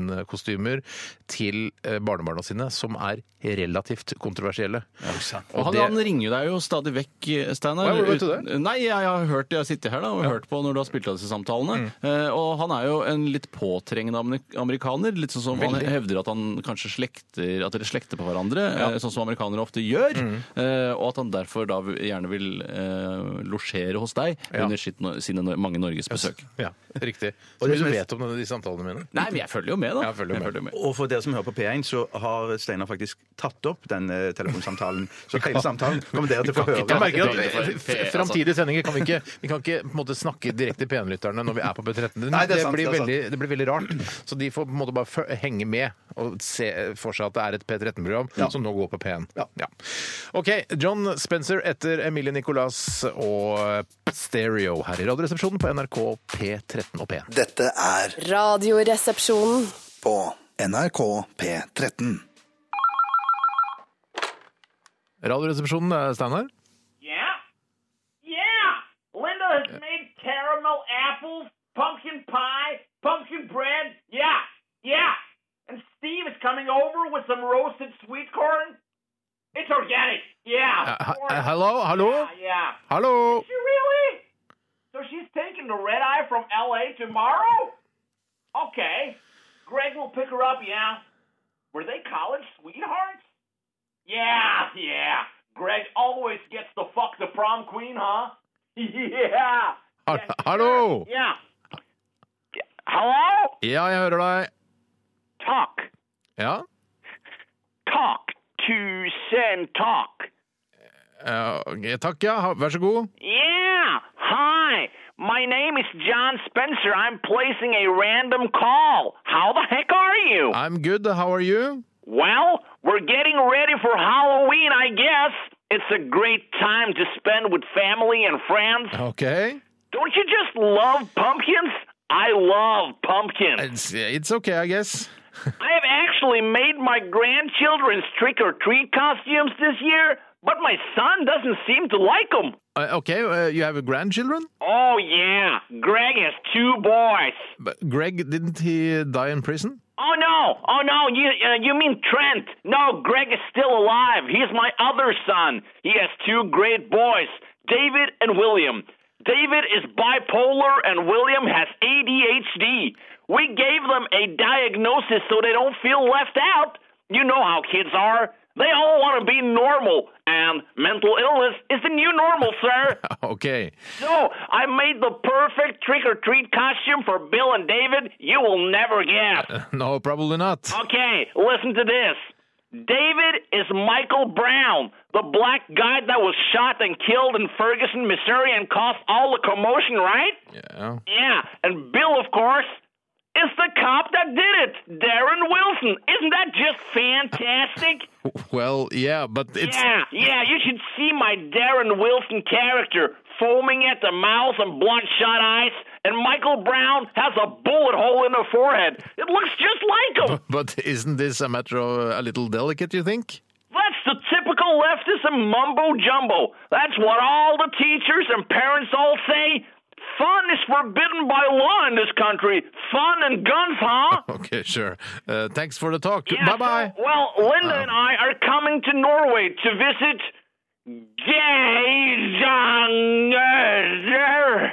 halloween-kostymer til eh, barnebarna sine som er relativt kontroversielle. Og han, det- han ringer deg jo stadig vekk, Steinar. Ja, hvordan vet du det? Nei, jeg har hørt, jeg har sittet her da, og hørt på når du har spilt av disse Mm. samtalene. Eh, og han er jo en litt påtrengende amerik- amerikaner. Litt sånn som Veldig. han hevder at han kanskje slekter, at dere slekter på hverandre, eh, sånn som amerikanere ofte gjør. Mm. Eh, og at han derfor da gjerne vil eh, losjere hos deg Ja. under sitt, no- sine no- mange norgesbesøk. Ja, riktig. Så mye Og det du som er- vet om denne, de samtalene mine? Nei, men jeg følger jo med, da. Jeg følger med. Og for dere som hører på P1, så har Steinar faktisk tatt opp den eh, telefonsamtalen. Så hele samtalen kommer dere til å få høre. Jeg merker at det er f- ikke f- altså. Framtidige sendinger kan vi ikke Vi kan ikke på en måte snakke direkte til P1-lytterne når vi er på B13. Det, Nei, det er sant, blir det er sant. veldig, det blir veldig rart. Så de får på en måte bare fø- henge med og se for seg at det er et P13-program som nå går på P1. Ja. OK. John Spencer etter Emilie Nicolas og Stereo her i Radioresepsjonen på NRK P13 og P1. Dette er Radioresepsjonen. på NRK P13. Radioresepsjonen, eh, Steinar? Yeah? Yeah! Linda has made caramel apples, pumpkin pie, pumpkin bread. Yeah, yeah. And Steve is coming over with some roasted sweet corn. It's organic. Yeah. Eh, corn. he- Hallo? Hallo? Yeah, yeah. Hallo? She really? So she's taking the red eye from LA tomorrow? Okay. Greg will pick her up, yeah. Were they college sweethearts? Yeah, yeah. Greg always gets the fuck the prom queen, huh? yeah. Ha- Hallo? Yeah. Hello? Ja, jeg hører deg. Talk. Ja? Talk to send talk. Eh, Takk, ja. Ha- Vær så god. Yeah. Hi. My name is John Spencer. I'm placing a random call. How the heck are you? I'm good. How are you? well, we're getting ready for Halloween, I guess. It's a great time to spend with family and friends. Uh, Okay. Don't you just love pumpkins? I love pumpkins. It's, it's okay, I guess. I have actually made my grandchildren's trick or treat costumes this year, but my son doesn't seem to like them. Uh, okay, uh, you have grandchildren? Oh, yeah. Greg has two boys. But Greg, didn't he die in prison? Oh no! Oh no! You uh, you mean Trent? No, Greg is still alive. He's my other son. He has two great boys, David and William. David is bipolar, and William has ADHD. We gave them a diagnosis so they don't feel left out. You know how kids are. They all want to be normal, and mental illness is the new normal, sir. Okay. so I made the perfect trick or treat costume for Bill and David. You will never guess. No, probably not. Okay, listen to this. David is Michael Brown, the black guy that was shot and killed in Ferguson, Missouri, and caused all the commotion, right? Yeah. Yeah, and Bill, of course, is the cop that did it, Darren Wilson. Isn't that just fantastic? Well, yeah, but it's. Yeah, yeah, you should see my Darren Wilson character foaming at the mouth and bloodshot eyes, and Michael Brown has a bullet hole in the forehead. It looks just like him. But isn't this a matter of a little uh, delicate, you think? That's the typical all leftism mumbo jumbo. That's what all the teachers and parents all say. Fun is forbidden by law in this country. Fun and guns, huh? Okay, sure. Uh, thanks for the talk. Yeah, bye bye. so- well, Linda and I are coming to Norway to visit Geisanger.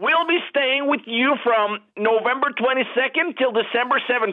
We'll be staying with you from November 22nd till December 17th.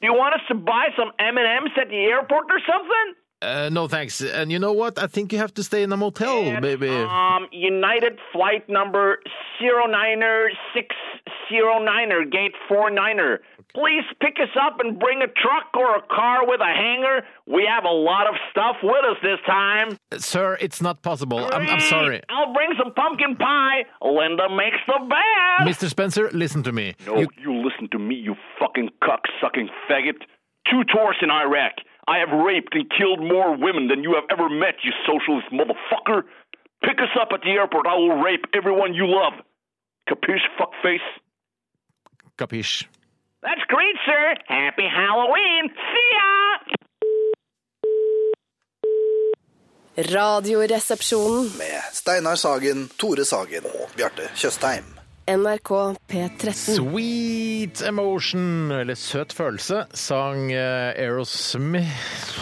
Do you want us to buy some M&Ms at the airport or something? Uh, no, thanks. And you know what? I think you have to stay in a motel, At, baby. Um, United flight number 09609er, gate 49er. Please pick us up and bring a truck or a car with a hanger. We have a lot of stuff with us this time. Sir, it's not possible. I'm, I'm sorry. I'll bring some pumpkin pie. Linda makes the best. Mr. Spencer, listen to me. No, You- you, listen to me, you fucking cuck sucking faggot. Two tours in Iraq. I have raped and killed more women than you have ever met, you socialist motherfucker. Pick us up at the airport. I will rape everyone you love. Capiche, fuckface? Capiche. That's great, sir. Happy Halloween. See ya. Radioresepsjonen. Med Steinar Sagen, Tore Sagen og Bjarte Tjøstheim. NRK P13. Sweet Emotion, eller Søt følelse, sang eh, Aerosmith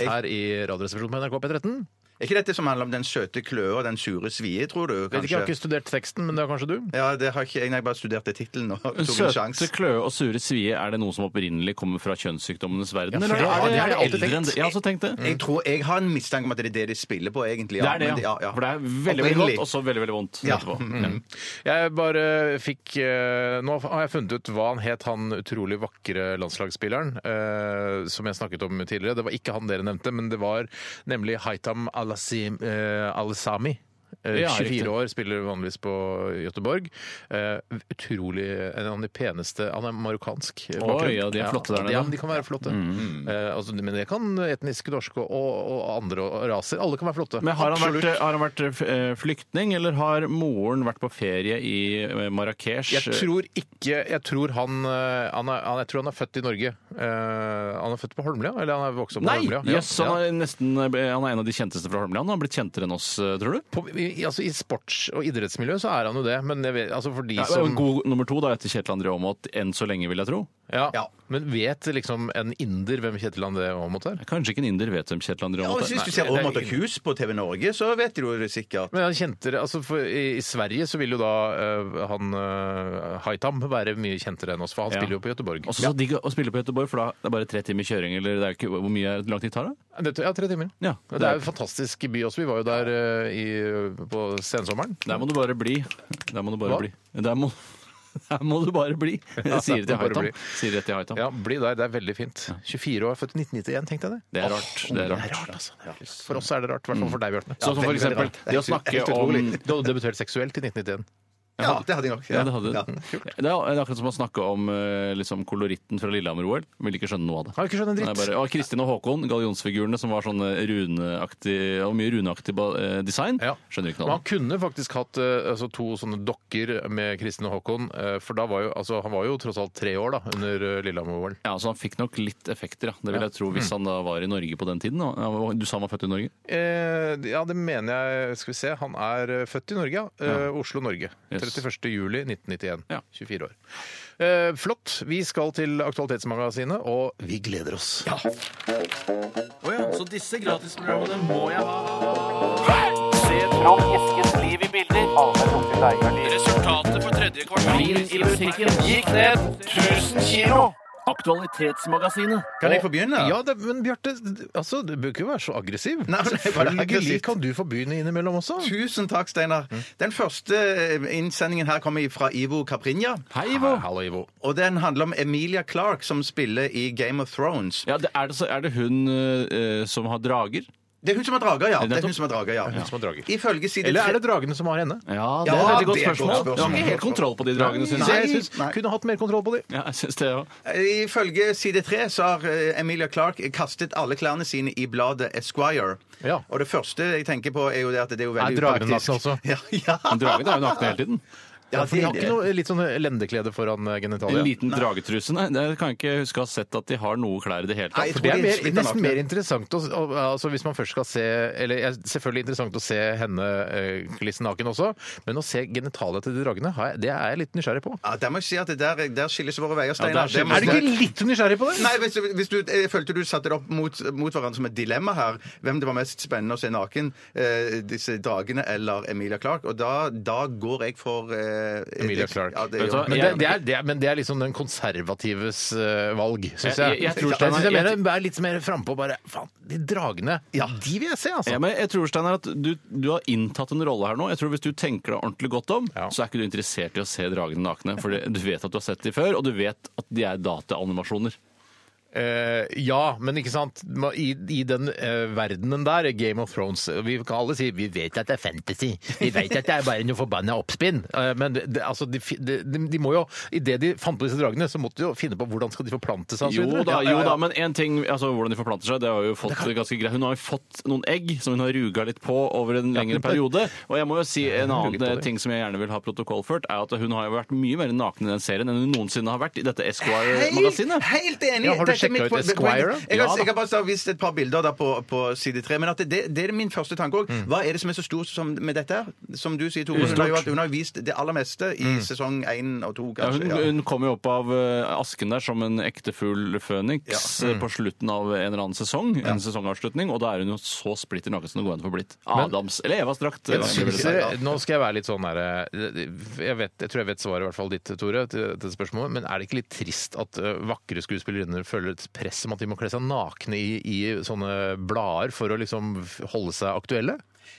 her i Radioresepsjonen på NRK P13. Er ikke dette som handler om den søte kløe og den sure svie, tror du? Vet ikke, jeg har kanskje? ikke studert teksten, men det har kanskje du? Ja, det har ikke jeg. Jeg bare studerte tittelen og tok en Søte sjanse. kløe og sure svie, er det noe som opprinnelig kommer fra kjønnssykdommenes verden? for eller det- er det det, har er det jeg alltid eldre tenkt. enn Mm. det? Jeg har også tenkt det. Jeg tror jeg har en mistanke om at det er det de spiller på, egentlig. Det er det, men ja. Mm. For det er veldig veldig Opprinnelig. godt, og så veldig veldig vondt Ja. etterpå. Jeg bare fikk eh, Nå har jeg funnet ut hva han het, han utrolig vakre landslagsspilleren eh, som jeg snakket om tidligere. Det var ikke han dere nevnte, men det var nemlig Haitam Alasim, eh, Alsami. Eh, Ja, 24 riktig. år, spiller vanligvis på Göteborg. Eh, utrolig en av de peneste Han er marokkansk. eh, Oi, bakgrunn. ja, de er flotte der nede. Mm. Ja, de kan være flotte. Eh, altså, men det kan etniske norske og, og andre raser. Alle kan være flotte. Men har han, Absolutt. vært, har han vært eh, flyktning, eller har moren vært på ferie i eh, Marrakech? Jeg tror ikke Jeg tror han, eh, han, er, han, jeg tror han er født i Norge. Eh, han er født på Holmlia? Eller han er vokst opp på Nei! Holmlia? Ja, Jøss, han, er nesten, eh, han er en av de kjenteste fra Holmland. Han har blitt kjentere enn oss, eh, tror du? På, i, altså, I sports- og idrettsmiljø så er han jo det, men jeg vet, altså for de Ja, som God nummer to da, etter Kjetil André Aamodt enn så lenge, vil jeg tro. ja, Ja. Men vet liksom en inder hvem Kjetil André Aamodt er? Kanskje ikke en inder vet hvem Kjetil André Ja, og Aamodt er. Hvis du ser Aamodt og Kjus på TV Norge, så vet du det sikkert. Men han kjente det, altså for I i Sverige så vil jo da eh, han eh, Haitam være mye kjentere enn oss, for han Ja. spiller jo på Göteborg. Og så så digg å spille på Göteborg, for da det er bare tre timer kjøring. eller det er jo ikke, Hvor mye er- hvor lang tid tar det? Det- ja, tre timer. Ja, det, er jo en fantastisk by også. Vi var jo der eh, i, på sensommeren. Der må du bare bli. Der må du bare Hva? bli. Der må, der må du bare bli, sier det der til må du bare Haitam. bli. Sier det til Haitam. Ja, bli der. Det er veldig fint. 24 år, født i 1991, tenkte jeg det. Det er rart. Det er rart. altså. For oss er det rart, i hvert fall for deg, Bjarte. Sånn som for eksempel det å snakke om Du hadde debutert seksuelt i 1991. Ja, det hadde jeg nok. Ja, det hadde Ja. det. Det er det er akkurat som å snakke om eh, liksom, koloritten fra Lillehammer-OL. Vil ikke skjønne noe av det. Har ikke skjønt en Nei, dritt. bare, og Kristin og Håkon, gallionsfigurene som var sånne runeaktig og mye runeaktig ba- eh, design. Ja. Skjønner ikke Men han noe av det. kunne faktisk hatt eh, altså, to sånne dokker med Kristin og Håkon. eh, for da var jo, altså, han var jo tross alt tre år da, under eh, Lillehammer-OL. Ja, så han fikk nok litt effekter, ja. Det vil jeg tro, hvis han da var i Norge på den tiden. da. Ja, hva- Du sa han var født i Norge? Eh, ja, det mener jeg Skal vi se. Han er eh, født i Norge, ja. Eh, Oslo-Norge. Yes. 31. juli 1991. Ja. 24 år. Eh, flott. Vi skal til Aktualitetsmagasinet, og vi gleder oss. Så disse gratisprogrammene må jeg ha. Resultatet på tredje kvartal i butikken gikk ned 1000 kilo. Aktualitetsmagasinet. Kan jeg få begynne? Ja, det, men Bjarte, altså, du bør ikke være så aggressiv. Nei, men jeg er bare Selvfølgelig aggressiv. kan du få begynne innimellom også. Tusen takk, Steinar. Mm. Den første eh, innsendingen her kommer fra Ivo Caprinja. Hei, Ivo. Hallo, Ivo. Og den handler om Emilia Clark, som spiller i Game of Thrones. Ja, det, er, det, så er det hun eh, som har drager? Det er hun som er drager, ja. Det er hun som er drager, ja. som er drager. Ifølge side Eller er det tre- dragene som har henne? Ja, det er et veldig godt spørsmål. Du har ikke helt kontroll på de dragene, syns Så jeg. jeg synes, nei. kunne hatt mer kontroll på de. Ja, jeg synes det, ja. Ifølge side tre så har eh, Emilia Clark kastet alle klærne sine i bladet Esquire. Ja. Og det første jeg tenker på, er jo det at det er jo veldig Er dragen altså? upraktisk. naken også? Ja, ja. Men dragen er jo nakne hele tiden. Ja, for de har det- ikke noe litt sånn lendeklede foran eh, genitalia? En liten dragetruse? Nei, det kan jeg ikke huske å ha sett at de har noe klær i det hele tatt. Nei, jeg For tror det er de mer, splitter nesten nakne. mer interessant å, å, altså hvis man først skal se eller ja, Selvfølgelig interessant å se henne eh, klissen naken også, men å se genitalia til de dragene, har jeg, det er jeg litt nysgjerrig på. Ja, der må jeg si at det der, der skilles våre veier, der Steinar. skilles må- Er du ikke litt nysgjerrig på det? Nei, hvis, hvis du, jeg følte du satte det opp mot, mot hverandre som et dilemma her. Hvem det var mest spennende å se naken, eh, disse dragene eller Emilia Clark. Og da, da går jeg for eh, Emilia det- Clarke. Ja, det, Vet du hva? gjør jeg. Men det, det, er, det, er, men det er liksom den konservatives eh, valg, syns jeg. Jeg- jeg- jeg tror Der synes jeg Steinar- mer, er litt mer frampå og bare Faen, de dragene, de vil jeg se, altså. Ja, men jeg tror, Steiner, at du, du har inntatt en rolle her nå. Jeg tror Hvis du tenker deg ordentlig godt om, Ja. så er ikke du interessert i å se dragene nakne. For det- du vet at du har sett dem før, og du vet at de er dataanimasjoner. Eh, ja, men ikke sant Ma- I, i den eh, verdenen der, Game of Thrones eh, Vi kan alle si vi vet at det er fantasy. Vi vet at det er bare noe forbanna oppspinn. Eh, men det, det- altså, de, fi- de, de, de må jo Idet de fant på disse dragene, så måtte de jo finne på hvordan skal de forplante seg. og så Jo videre. Ja, da, ja, jo ja. da, men en ting, altså hvordan de forplanter seg, det har jo fått ganske greit. Hun har jo fått noen egg som hun har ruga litt på over en lengre periode. Og jeg må jo si en ruget på annen det. ting som jeg gjerne vil ha protokollført, er at hun har jo vært mye mer naken i den serien enn hun noensinne har vært i dette Esquire-magasinet. helt enig! Ja, har du Dette er sjekket ut mitt poeng. Esquire, da? Jeg Ja, har, da. jeg har bare vist et par bilder da på, på side tre. Men at det, det er min første tanke òg. Hva er det som er så stort som med dette? her? Som du sier, Tore. Hun har jo vært- hun har jo vist det aller meste i sesong én og to, Ja, kanskje. hun, Ja. hun kom jo opp av eh, asken der som en ekte fugl føniks eh, på slutten av en eller annen sesong. En sesongavslutning, og da er hun jo så splitter naken som det går an å få blitt. Adams, eller Evas drakt. eh, Men vil jeg synes si. dere, nå skal jeg være litt sånn der, jeg, vet, jeg tror jeg vet svaret i hvert fall ditt, Tore, til til spørsmålet, men er det ikke litt trist at ø, vakre skuespillerinner føler et press om at de må kle seg nakne i, i sånne blader for å liksom holde seg aktuelle?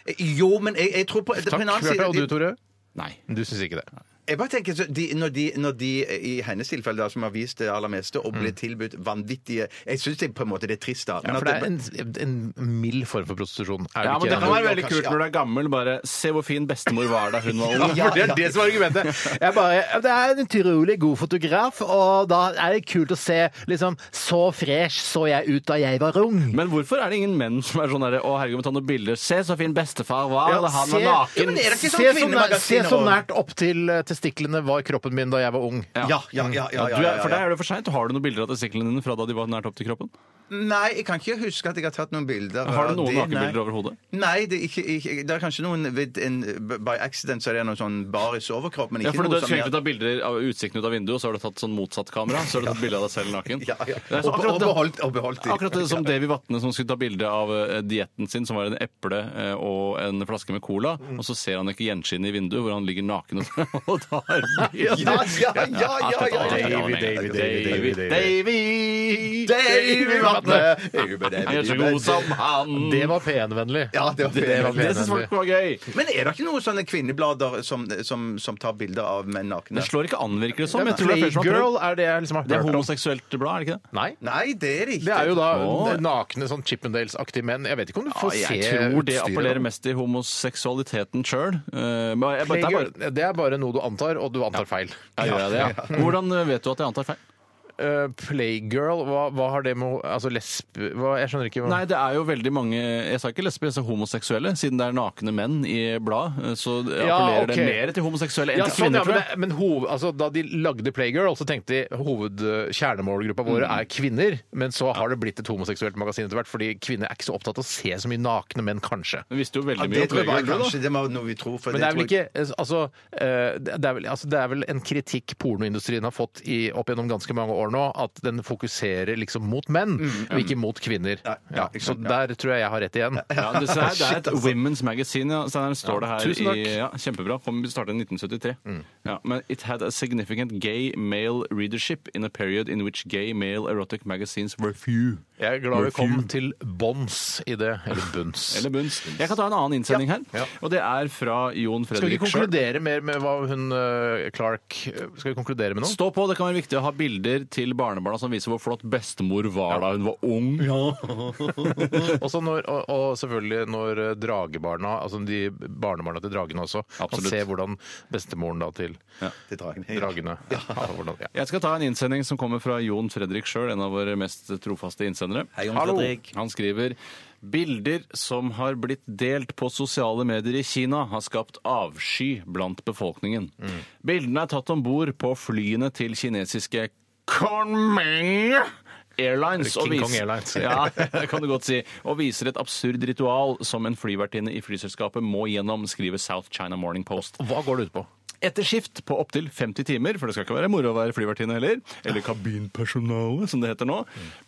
Eh, Jo, men jeg, jeg tror på, på Takk, en annen Bjarte. Og du, side Tore? Nei. Du syns ikke det? Jeg bare tenker, så de, når, de, når de eh, i hennes tilfelle da, som har vist det aller meste, og blir tilbudt vanvittige Jeg syns det, på en måte det er trist, da. men Ja, at for det er en, en mild form for prostitusjon. Er Ja, det men Det ikke kan enig? være veldig kult når du er gammel. Bare se hvor fin bestemor var da hun var ung. Ja, for det er det som er argumentet. Jeg bare, det er en utrolig god fotograf, og da er det kult å se liksom Så fresh så jeg ut da jeg var ung. Men hvorfor er det ingen menn som er sånn der, Å, herregud, må ta noen bilder. Se så fin bestefar var. Ja, eller han se- var Ja, naken. men er det ikke Se så, sånn nær, se kvinnemagasiner så og- nært opp til eh, testiklene var kroppen min da jeg var ung. Ja, ja, ja, ja, ja, ja, du er, ja, for deg er det for seint. Har du noen bilder av testiklene dine fra da de var nært opp til kroppen? Nei, jeg kan ikke huske at jeg har tatt noen bilder. Har av du noen det, nei. nakenbilder over hodet? Nei, det er, ikke, ikke, det er kanskje noen ved en, By accident så er det noen sånn baris overkropp, men Ja, ikke for Du noe har som tenkt å ta bilder av utsikten ut av vinduet, og så har du tatt sånn motsatt kamera. Så har du tatt bilde av deg selv naken. ja, ja. Det er Og, så og, akkurat det- beholdt, og beholdt de. Akkurat det som Davy Vatne som skulle ta bilde av eh, dietten sin, som var en eple eh, og en flaske med cola, Mm. og så ser han ikke gjenskinnet i vinduet hvor han ligger naken og- og tar bilder. Ja, ja, ja, ja, ja, ja, ja. Davy, Davy, Davy, Davy. Davy Vatne! Han er så god som han. Det var PN-vennlig. Ja, det var Det var fint. veldig. Det syns folk var gøy. Men er det ikke noen sånne kvinneblader som, som, som tar bilder av menn nakne? Det slår ikke an, virker det som. Jeg tror det er flere som har prøvd. Playgirl er det jeg liksom har Det er hørt om. homoseksuelt blad, er det ikke det? Nei. Nei, det er det ikke. Det er jo da Å. nakne sånn Chippendales-aktige menn. Jeg vet ikke om du får Ja, se jeg tror det utstyret, appellerer da. mest til homoseksualiteten Eh, sjøl. Playgirl, det er bare noe du antar, og du antar feil. Hvordan vet du at jeg antar feil? Eh, Playgirl, hva, hva har det med Altså lesb... Hva, jeg skjønner ikke. hva- Nei, det er jo veldig mange Jeg sa ikke lesbiske, jeg sa homoseksuelle, siden det er nakne menn i bladet. Så ok. appellerer det mer til homoseksuelle enn Ja, til sånn, ja, men kvinner, tror det, jeg. men hoved, altså, da de lagde Playgirl, så tenkte de hovedkjernemålgruppa våre er kvinner. Men så har det blitt et homoseksuelt magasin etter hvert, fordi kvinner er ikke så opptatt av å se så mye nakne menn, kanskje. Du visste jo veldig Ja, mye det om tror jeg bare Playgirl, du, da. kanskje det var noe vi tror. For Men det er vel tror jeg- ikke altså, eh, det er vel, altså, det er vel en kritikk pornoindustrien har fått i, opp gjennom ganske mange år nå, at den fokuserer liksom mot menn, og ikke mot kvinner. Ja, ja, Ja, ikke så sant, ja. der tror jeg jeg har rett igjen. Ja, det, så her, det er Shit, et altså. Women's Magazine, ja. Steinar, står det her. tusen takk. Mm. I, ja, kjempebra. Kom, vi startet i 1973. Ja, men it had a significant gay male readership in a period in which gay male erotic magazines were few. Jeg er glad vi kom til bånds i det. Eller bunns. Eller bunns. Jeg kan ta en annen innsending her, og det er fra Jon Skal vi Fredrik ikke Schjørt. konkludere mer med hva hun eh, Clark eh, Skal vi konkludere med noe? Stå på, det kan være viktig å ha bilder til barnebarna som viser hvor flott bestemor var da hun var ung. Også når, og, og selvfølgelig når eh, dragebarna, altså de barnebarna til dragene også, Absolutt. kan se hvordan bestemoren da til Det drar jeg ned. dragene ja. hvordan, ja. Jeg skal ta en innsending som kommer fra Jon Fredrik sjøl, en av våre mest trofaste senere. Hei, Jon Fredrik. Han skriver Bilder som har blitt delt på sosiale medier i Kina, har skapt avsky blant befolkningen. Mm. Bildene er tatt om bord på flyene til kinesiske Konming Airlines. Eller og King vis- Kong Airlines. Ja, det kan du godt si. Og viser et absurd ritual som en flyvertinne i flyselskapet må gjennom, skriver South China Morning Post. Hva går det ut på? Etter skift på opptil 50 timer, for det skal ikke være moro å være flyvertinne heller, eller kabinpersonale, som det heter nå,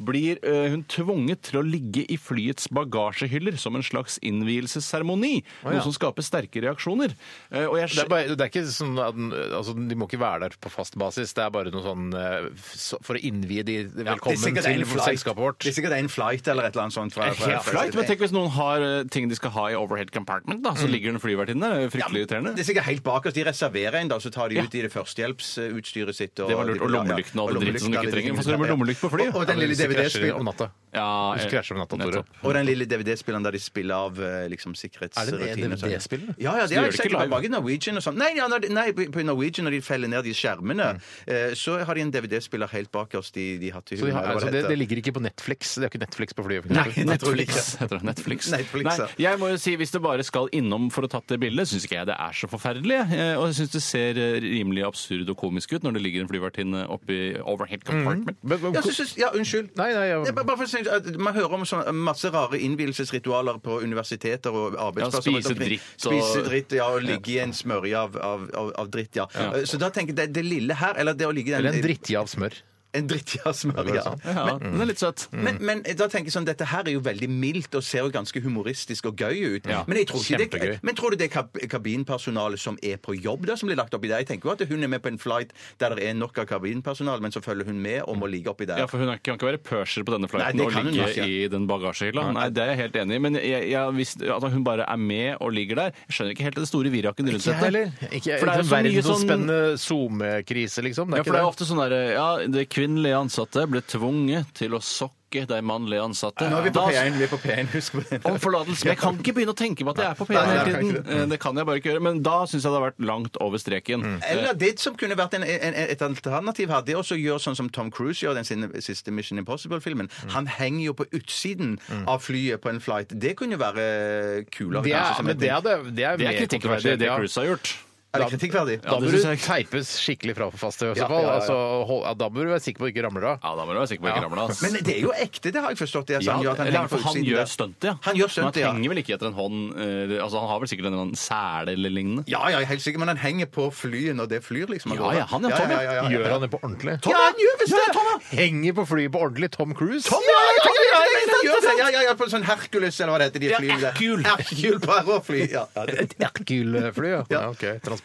blir ø, hun tvunget til å ligge i flyets bagasjehyller som en slags innvielsesseremoni, ja. noe som skaper sterke reaksjoner. Eh, og jeg Det er, bare, det er ikke sånn at den- altså, De må ikke være der på fast basis. Det er bare noe sånn eh, så- for å innvie de velkommen sikkert til en flight. selskapet vårt. Det er sikkert en flight eller et eller annet sånt. Fra, fra- Helt flaut, men tenk hvis noen har eh, ting de skal ha i overhead compartment, da, Mm. så ligger det en flyvertinne der. Det er Fryktelig irriterende. Det er sikkert helt bak oss. De reserverer en, da, så tar de Ja. ut i det førstehjelpsutstyret sitt. Det var lurt. Og lommelyktene og all den dritten som du ikke trenger. Hvorfor skal du med lommelykt på fly? Og, og den lille Hvis de krasjer DVD-spilleren om natta. Ja, Hvis de eh, krasjer om natta, Tore. nettopp. og den lille DVD-spilleren der de spiller av eh, liksom, Er det sikkerhetsrutiner. en DVD-spiller? sånn. Ja, ja, det har Så gjør jeg det sett ikke på live? mange Norwegian og sånn. Nei, ja, når de- nei, på Norwegian når de feller ned de skjermene, Mm. eh, så har de en DVD-spiller helt bak oss de, de har til Så de hunden, har, eller hva altså, det det, heter. det ligger ikke på Netflix? Det er ikke Netflix på flyet? for Nei, eksempel. det tror jeg Netflix. Heter det Netflix? Netflix, ja. Nei, jeg må jo si, Hvis det bare skal innom for å tatt det bildet, syns ikke jeg det er så forferdelig. eh, Og jeg syns det ser eh, rimelig absurd og komisk ut når det ligger en flyvertinne oppi overhead compartment. Men, men, Ja, så synes- ja, unnskyld. Nei, nei, ja. Det er bare- bare for å si at Man hører om sånn masse rare innvielsesritualer på universiteter og arbeidsplasser. Ja, rundt spise omkring. dritt og- Spise dritt, ja, og ligge i en smørje av, av, av, av dritt, ja. Eh, Så da tenker jeg det, det lille her, eller det å ligge i den Eller en drittje av smør. En dritt, ja, smørje. Ja. sånn. Ja, Mm. den er litt søt. Men, men da tenker jeg sånn, dette her er jo veldig mildt og ser jo ganske humoristisk og gøy ut. Ja, men, jeg tror ikke det, kjempegøy. men tror du det er kab kabinpersonale som er på jobb da, som blir lagt oppi der? Jeg tenker jo at hun er med på en flight der det er nok av kabinpersonale, men så følger hun med og må ligge oppi der. Ja, for Hun er ikke- kan ikke være purser på denne Nei, flighten det og kan hun ligge ikke. i den bagasjehylla. Nei, Det er jeg helt enig i. Men jeg, jeg, hvis at hun bare er med og ligger der Jeg skjønner ikke helt det store viraken rundt dette. Ikke, sånn For det en er jo så mye sånn- verdensomspennende SoMe-krise, liksom. Det Ja, er for ikke det er det. jo ofte sånn derre Ja, det kvinnelige ansatte ble tvunget til å sokke de mannlige ansatte. Nå er vi på Da- P1, vi er på P1, husk på det. Om forlatelse. Men jeg kan ikke begynne å tenke på at jeg er på P1 Nei, hele jeg kan tiden. Eh, Det kan jeg bare ikke gjøre. Men da syns jeg det har vært langt over streken. Mm. Eh, Eller det som kunne vært en, en, et alternativ her, det er også å gjøre sånn som Tom Cruise gjør i den sin- siste Mission Impossible-filmen. Han henger jo på utsiden av flyet på en flight. Det kunne jo være kulere. Det sånn kanskje, er, som men en det ting. er, det, det er, Det er mer kritikkverdig, kontroversielt, det ja. Cruise har gjort. Er det kritikkverdig? Da Ja, bør det du synes jeg. teipes skikkelig fra for fast i Ja, så fall. ja, ja. Altså, hold, ja, da bør du være sikker på at du ikke ramler av. Ja, da må du være sikker på at jeg ikke ramler, ass. Men det er jo ekte, det har jeg forstått. Det, altså, Ja, han gjør at han eller henger på for han utsiden gjør der. stuntet, ja. Han gjør stuntet, Men ja. han henger vel ikke etter en hånd eh, Altså, Han har vel sikkert en eller annen sele eller lignende. Ja, ja, jeg er helt sikker, men han henger på flyet når det flyr, liksom. Ja, ja, han, ja, Tom, ja. Gjør han det på ordentlig? Ja, han gjør visst det! Tom, ja. Henger på flyet på ordentlig, Tom Cruise? Tom, ja, ja, ja, ja, ja, han gjør det. ja, ja, ja, på en sånn Hercules, eller hva det heter, de Ja, flyene der. Hercule. Hercule på Aerofly, ja. ja det. Et Hercule-fly, ja. ja. Ok, Transportfly.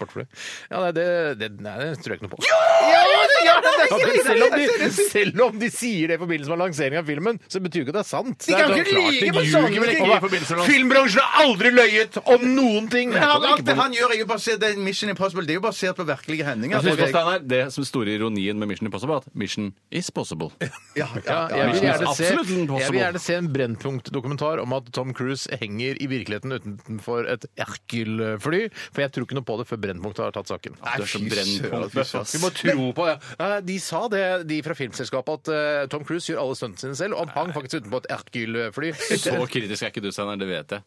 Ja, nei, det, det, nei, det tror jeg ikke noe på. Ja, det gjør det, det Ja, gjør men det, selv, om det gjør de, det. selv om de sier det i forbindelse med lanseringen av filmen, så betyr jo ikke at det er sant. De Det er kan så ikke klart de lyge på ljuger, sånne men ting. ikke i forbindelse med- Filmbransjen har aldri løyet om noen ting! Men han, alt det han gjør, er jo basert, det er Mission Impossible det er jo basert på virkelige hendinger. Jeg synes på Det er- Steinar, Det som er store ironien med Mission Impossible, er at Mission is possible. ja, ja, Ja, ja, jeg, vil Mission ja. is gjerne se, absolutely impossible. jeg vil gjerne se en Brennpunkt-dokumentar om at Tom Cruise henger i virkeligheten utenfor et Erkel-fly, for jeg tror ikke noe på det før Brennpunkt har tatt saken. Du er så brennpunkt. Vi må tro på det. Eh, De sa det, de fra filmselskapet, at eh, Tom Cruise gjør alle stuntene sine selv, og han hang faktisk utenpå et Erkel-fly. Så kritisk er ikke du, Steinar. Det vet jeg.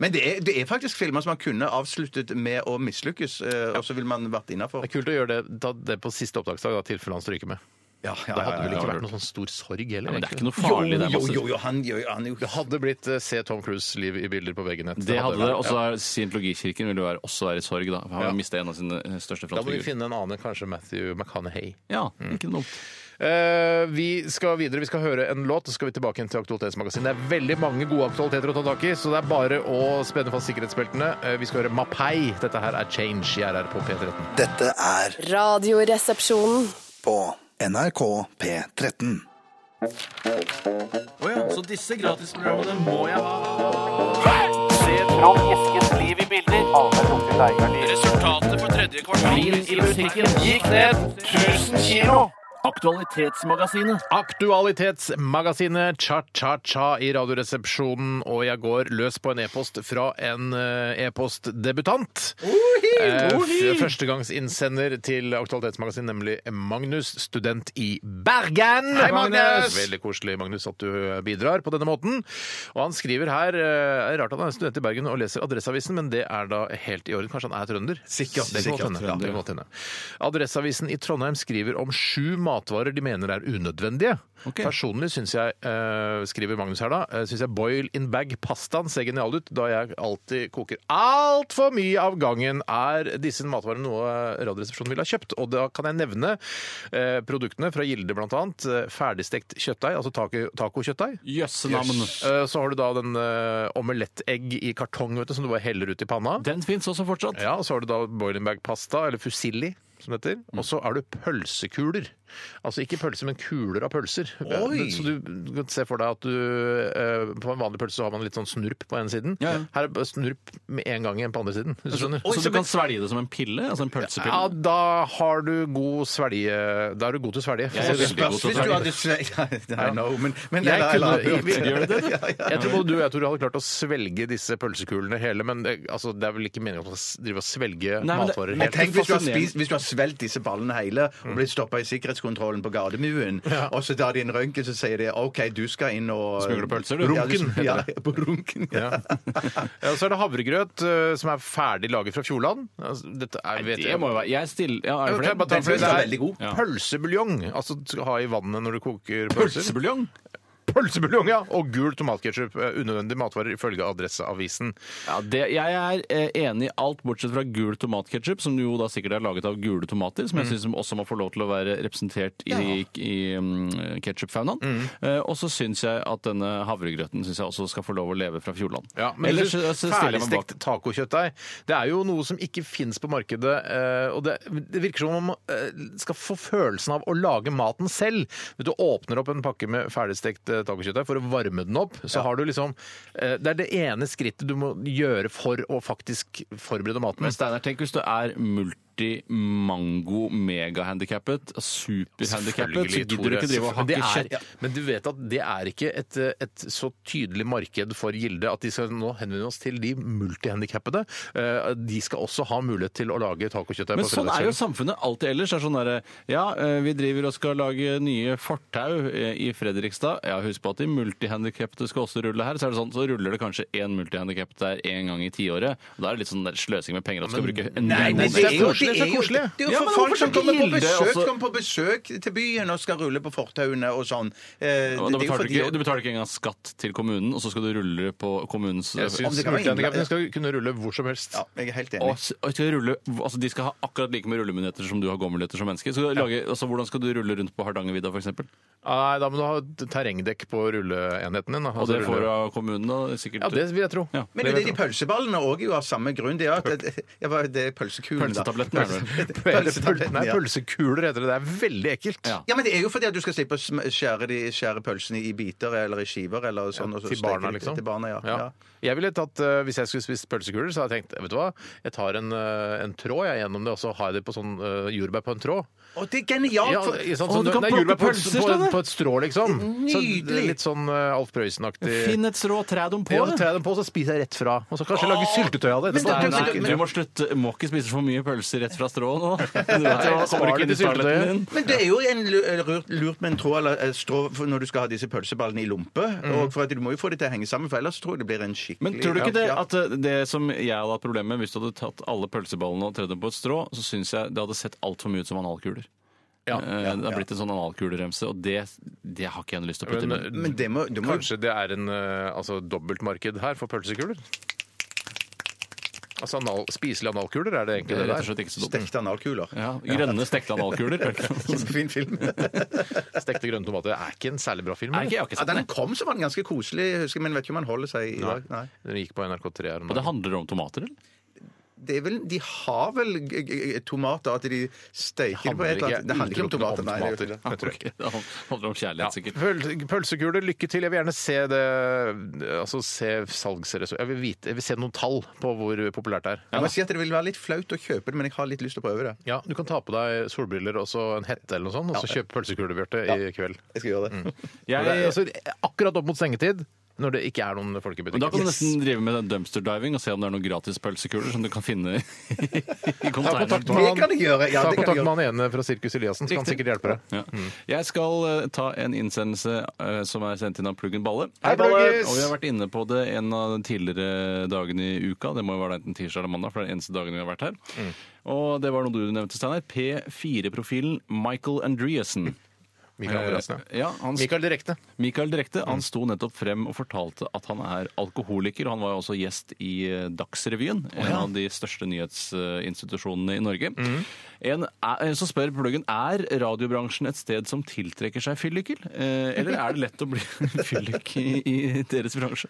Men det er, det er faktisk filmer som man kunne avsluttet med å mislykkes, eh, og så ville man vært innafor. Det er kult å gjøre det, ta det på siste opptaksdag, i tilfelle han stryker med. Ja, ja, Det hadde vel ikke ja, vært noen sånn stor sorg heller. Men det er ikke egentlig. noe farlig. det er Jo, masse- jo, jo, han gjør han er jo Det hadde blitt eh, se Tom Cruise liv i bilder på veggen. Det hadde det. Og så er Scientologikirken vil jo være, også være i sorg, da. for Han Ja. har mistet en av sine eh, største Da må vi frontfigurer. finne Mm. en annen, kanskje Matthew McConaughey. Ja, ikke noe dumt. Eh, vi skal videre, vi skal høre en låt, så skal vi tilbake igjen til Aktualitetsmagasinet. Det er veldig mange gode aktualiteter å ta tak i, så det er bare å spenne fast sikkerhetsbeltene. Eh, vi skal høre Mapei. Dette her er Change i RR på P13. Dette er Radioresepsjonen. på NRK P13. Resultatet på tredje kvartal i butikken gikk ned 1000 kilo. Aktualitetsmagasinet. Aktualitetsmagasinet Cha-Cha-Cha i Radioresepsjonen, og jeg går løs på en e-post fra en eh, e-postdebutant. Eh, f- Førstegangsinnsender til Aktualitetsmagasinet, nemlig Magnus, student i Bergen. Hei, Magnus! Veldig koselig, Magnus, at du eh, bidrar på denne måten. Og han skriver her eh, Det er rart at han er student i Bergen og leser Adresseavisen, men det er da helt i orden. Kanskje han er trønder? Sikkert. Det kan godt hende. Ja, det kan godt hende. Adresseavisen i Trondheim skriver om sju matvarer de mener er unødvendige. Personlig syns jeg, eh, skriver Magnus her da, eh, synes jeg boil in bag pastaen ser genial ut, da jeg alltid koker altfor mye av gangen. Er disse matvarene noe eh, Radioresepsjonen ville ha kjøpt? Og da kan jeg nevne eh, produktene fra Gilde bl.a. Ferdigstekt kjøttdeig, altså taco- tacokjøttdeig. Jøsse navn. Eh, Så har du da den eh, omelettegg i kartong vet du, som du bare heller ut i panna. Den fins også fortsatt. Ja, og så har du da boiling bag pasta, eller fusilli, som det heter. Mm. Og så har du pølsekuler. Altså ikke pølser, men kuler av pølser. Oi! Så du du kan se for deg at du eh, På en vanlig pølse så har man litt sånn snurp på ene siden. Ja, Altså, ja. Her er bare snurp med en gang igjen på andre siden. Hvis du skjønner. Så du kan svelge det som en pille? Altså en pølsepille? Ja, da har du god svelge... Da er du god til å svelge. Jeg For å er si det veldig Spørs god til å sånn. hvis du hadde svelget I know, men, men Jeg eller- kunne- eller- vi- Gjør det det? Jeg tror både du og jeg Tore, hadde klart å svelge disse pølsekulene hele, men eh, altså, det er vel ikke meningen at man skal drive og svelge Nei, men det- matvarer men helt. helt Tenk hvis du, har fascinerende. spist, hvis du har svelget disse ballene hele og blitt stoppa i sikkerhetskontrollen på Gardermuen, og så tar de en røntgen så sier de OK, du skal inn og Smugle pølser, du. Ja, Runken, heter Ja, på runken. Ja. Ja, og så er det havregrøt eh, som er ferdig laget fra Fjordland. Altså, dette er, vet Det må jo være Jeg stiller ja, Jeg Er vet ikke, det jeg bare flere? tar flere. Den er veldig god. Ja. Pølsebuljong, altså du skal ha i vannet når du koker pølser. Pølsebuljong? Pølsebuljong, ja! Og gul tomatketchup. eh, Unødvendige matvarer ifølge Adresseavisen. Ja, det, jeg er eh, enig i alt bortsett fra gul tomatketchup, som jo da sikkert er laget av gule tomater, som Mm. jeg syns også må få lov til å være representert i, i um, ketsjupfaunaen. Mm. Eh, og så syns jeg at denne havregrøten synes jeg også skal få lov å leve fra Fjordland. Ja, men Ellers jeg så, synes så stiller jeg meg bak. ferdigstekt tacokjøttdeig det er jo noe som ikke fins på markedet. eh, Og det, det virker som om man eh, skal få følelsen av å lage maten selv. Vet Du åpner opp en pakke med ferdigstekt eh, tacokjøttdeig for å varme den opp. Så har du liksom eh, Det er det ene skrittet du må gjøre for å faktisk forberede maten. Men Steinar, tenk hvis du er multi-mango-megahandikappet, superhandikappet, så Selvfølgelig, gidder du Tore. ikke drive og Men det hakke er- kjøtt. Men du vet at det er ikke et, eh, et så tydelig marked for Gilde at de skal nå henvende oss til de multihandikappede. Eh, De skal også ha mulighet til å lage tacokjøttdeig. Men på sånn er jo fredagskvelden. samfunnet alltid ellers. Det er sånn derre Ja, eh, vi driver og skal lage nye fortau eh, i Fredrikstad. Ja, husk på at de multihandikappede skal også rulle her. Så er det sånn, så ruller det kanskje én multihandikappet der én gang i tiåret. Og Da er det litt sånn der sløsing med penger at du skal bruke en Nei, men million. det er jo koselig, så det er jo- koselig. Det er jo Ja, for men folk hvorfor som skal kommer på, Gilde besøk, også- kommer på besøk til byen og skal rulle på fortauene og sånn. Eh, Og det da er jo betaler du, fordi- ikke, du betaler ikke engang skatt til kommunen, og så skal du rulle det på kommunens Jeg Om syns det kan være multihandikappede innleie. skal kunne rulle hvor som helst. Ja, jeg er helt Og, enig. s- og skal rulle, altså de skal ha akkurat like med rullemuligheter som du har gåmuligheter som menneske. Så lage, altså, hvordan skal du rulle rundt på Hardangervidda f.eks.? Nei, da må du ha et terrengdekk på rulleenheten din. da. Og det Altså, får du rulle- av kommunen, da? Sikkert. Ja, det vil jeg tro. Ja. Men det er jo det de pølseballene òg jo av samme grunn. Det er at ja, hva er det pølsekulen, da. Pølsetabletten er det vel. Pølsetabletten, Nei, ja. pølsekuler heter det. Det er veldig ekkelt. Ja. Ja, men det er jo fordi at du skal slippe å sm- skjære, de, skjære pølsene i biter eller i skiver eller sånn. og så Til steke barna, de- liksom. Til barna, ja. Ja. ja. Jeg ville tatt, eh, Hvis jeg skulle spist pølsekuler, så hadde jeg tenkt vet du hva, jeg tar en, eh, en tråd jeg gjennom det, og så har jeg det på sånn eh, jordbær på en tråd. Å, det er genialt! Ja, for- i sånn, Å, sånn- du kan nei, plukke jordbær på, et- pølser, på, Steinar. på et strå, liksom. Så det Nydelig. er litt sånn eh, Alf Prøysen-aktig. Finn et strå, træ dem på Ja, det! tar jeg dem på, så spiser jeg rett fra. Og så kanskje jeg lager syltetøy av det. sånn etterpå. Men Nei, nei, men- du må slutte. Må ikke spise for mye pølser rett fra strået nå. Du vet jo, Nei, da kommer spar ikke det inn i til toaletten syltetøyet. din. Men det er jo en lu- lurt, lurt med en tråd eller eh, strå for når du skal ha disse pølseballene i lompe. Og for at Du må jo få det til å henge sammen, for ellers tror jeg det blir en skikkelig Men tror du ikke det Ja. at eh, det som jeg hadde hatt problemer med, hvis du hadde tatt alle pølseballene og tredd dem på et strå, så syns jeg det hadde sett altfor mye ut som analkuler. Ja, Eh, det har blitt en sånn analkuleremse, og det, det har ikke jeg lyst til å putte i Men, munnen. Men det må, du må Kanskje det er en eh, altså, dobbeltmarked her for pølsekuler? Altså anal, spiselige analkuler, er det Det egentlig er det rett og der? slett ikke så dumt. Stekte analkuler. Ja, grønne stekte analkuler. Er det Fin film. Stekte grønne tomater er ikke en særlig bra film. ikke, jeg eller? har ikke Ja, sett den den. kom, så var den ganske koselig, husker jeg, men vet ikke om han holder seg i dag. Nei. Den gikk på NRK3 her om Og det dagen. handler om tomater, eller? det er vel, De har vel g- g- tomater, at de steker det på et eller annet Det handler ikke om tomater, nei. det gjør ikke det. Det tror jeg ikke. Det handler om kjærlighet, sikkert. Pøl- Pølsekuler, lykke til. Jeg vil gjerne se det Altså se salgsresultatet jeg, vil vite- jeg vil se noen tall på hvor populært det er. Jeg må si at det vil være litt flaut å kjøpe det, men jeg har litt lyst til å prøve det. Ja, Du kan ta på deg solbriller og så en hette eller noe sånt, og så kjøpe pølsekuler, Bjarte, i kveld. Jeg skal gjøre det. For Jeg, det er altså, akkurat opp mot sengetid, når det ikke er noen folk i men da butikken. kan du nesten drive med den dumpster diving og se om det er noen gratis pølsekuler som du kan finne i Ta kontakt med konteineren. han, Det kan jeg gjøre, ja, ta det kan jeg kontakt med han ene fra Sirkus Eliassen, så kan han Riktig. sikkert hjelpe deg. Ja. Jeg skal eh, ta en innsendelse eh, som er sendt inn av Pluggen Balle. Hei, Plugges! Og vi har vært inne på det en av de tidligere dagene i uka. Det må jo være enten tirsdag eller mandag, for det er den eneste dagen vi har vært her. Mm. Og det var noe du nevnte, Steinar. P4-profilen Michael Andreassen. Mikael Andreassen, ja. Eh, ja, han Mikael Direkte. Mikael Direkte han sto nettopp frem og fortalte at han er alkoholiker. og Han var jo også gjest i eh, Dagsrevyen, en av de største nyhetsinstitusjonene i Norge. En, er- en som spør pluggen er radiobransjen et sted som tiltrekker seg fylliker, Eh, eller er det lett å bli fyllik i, i deres bransje?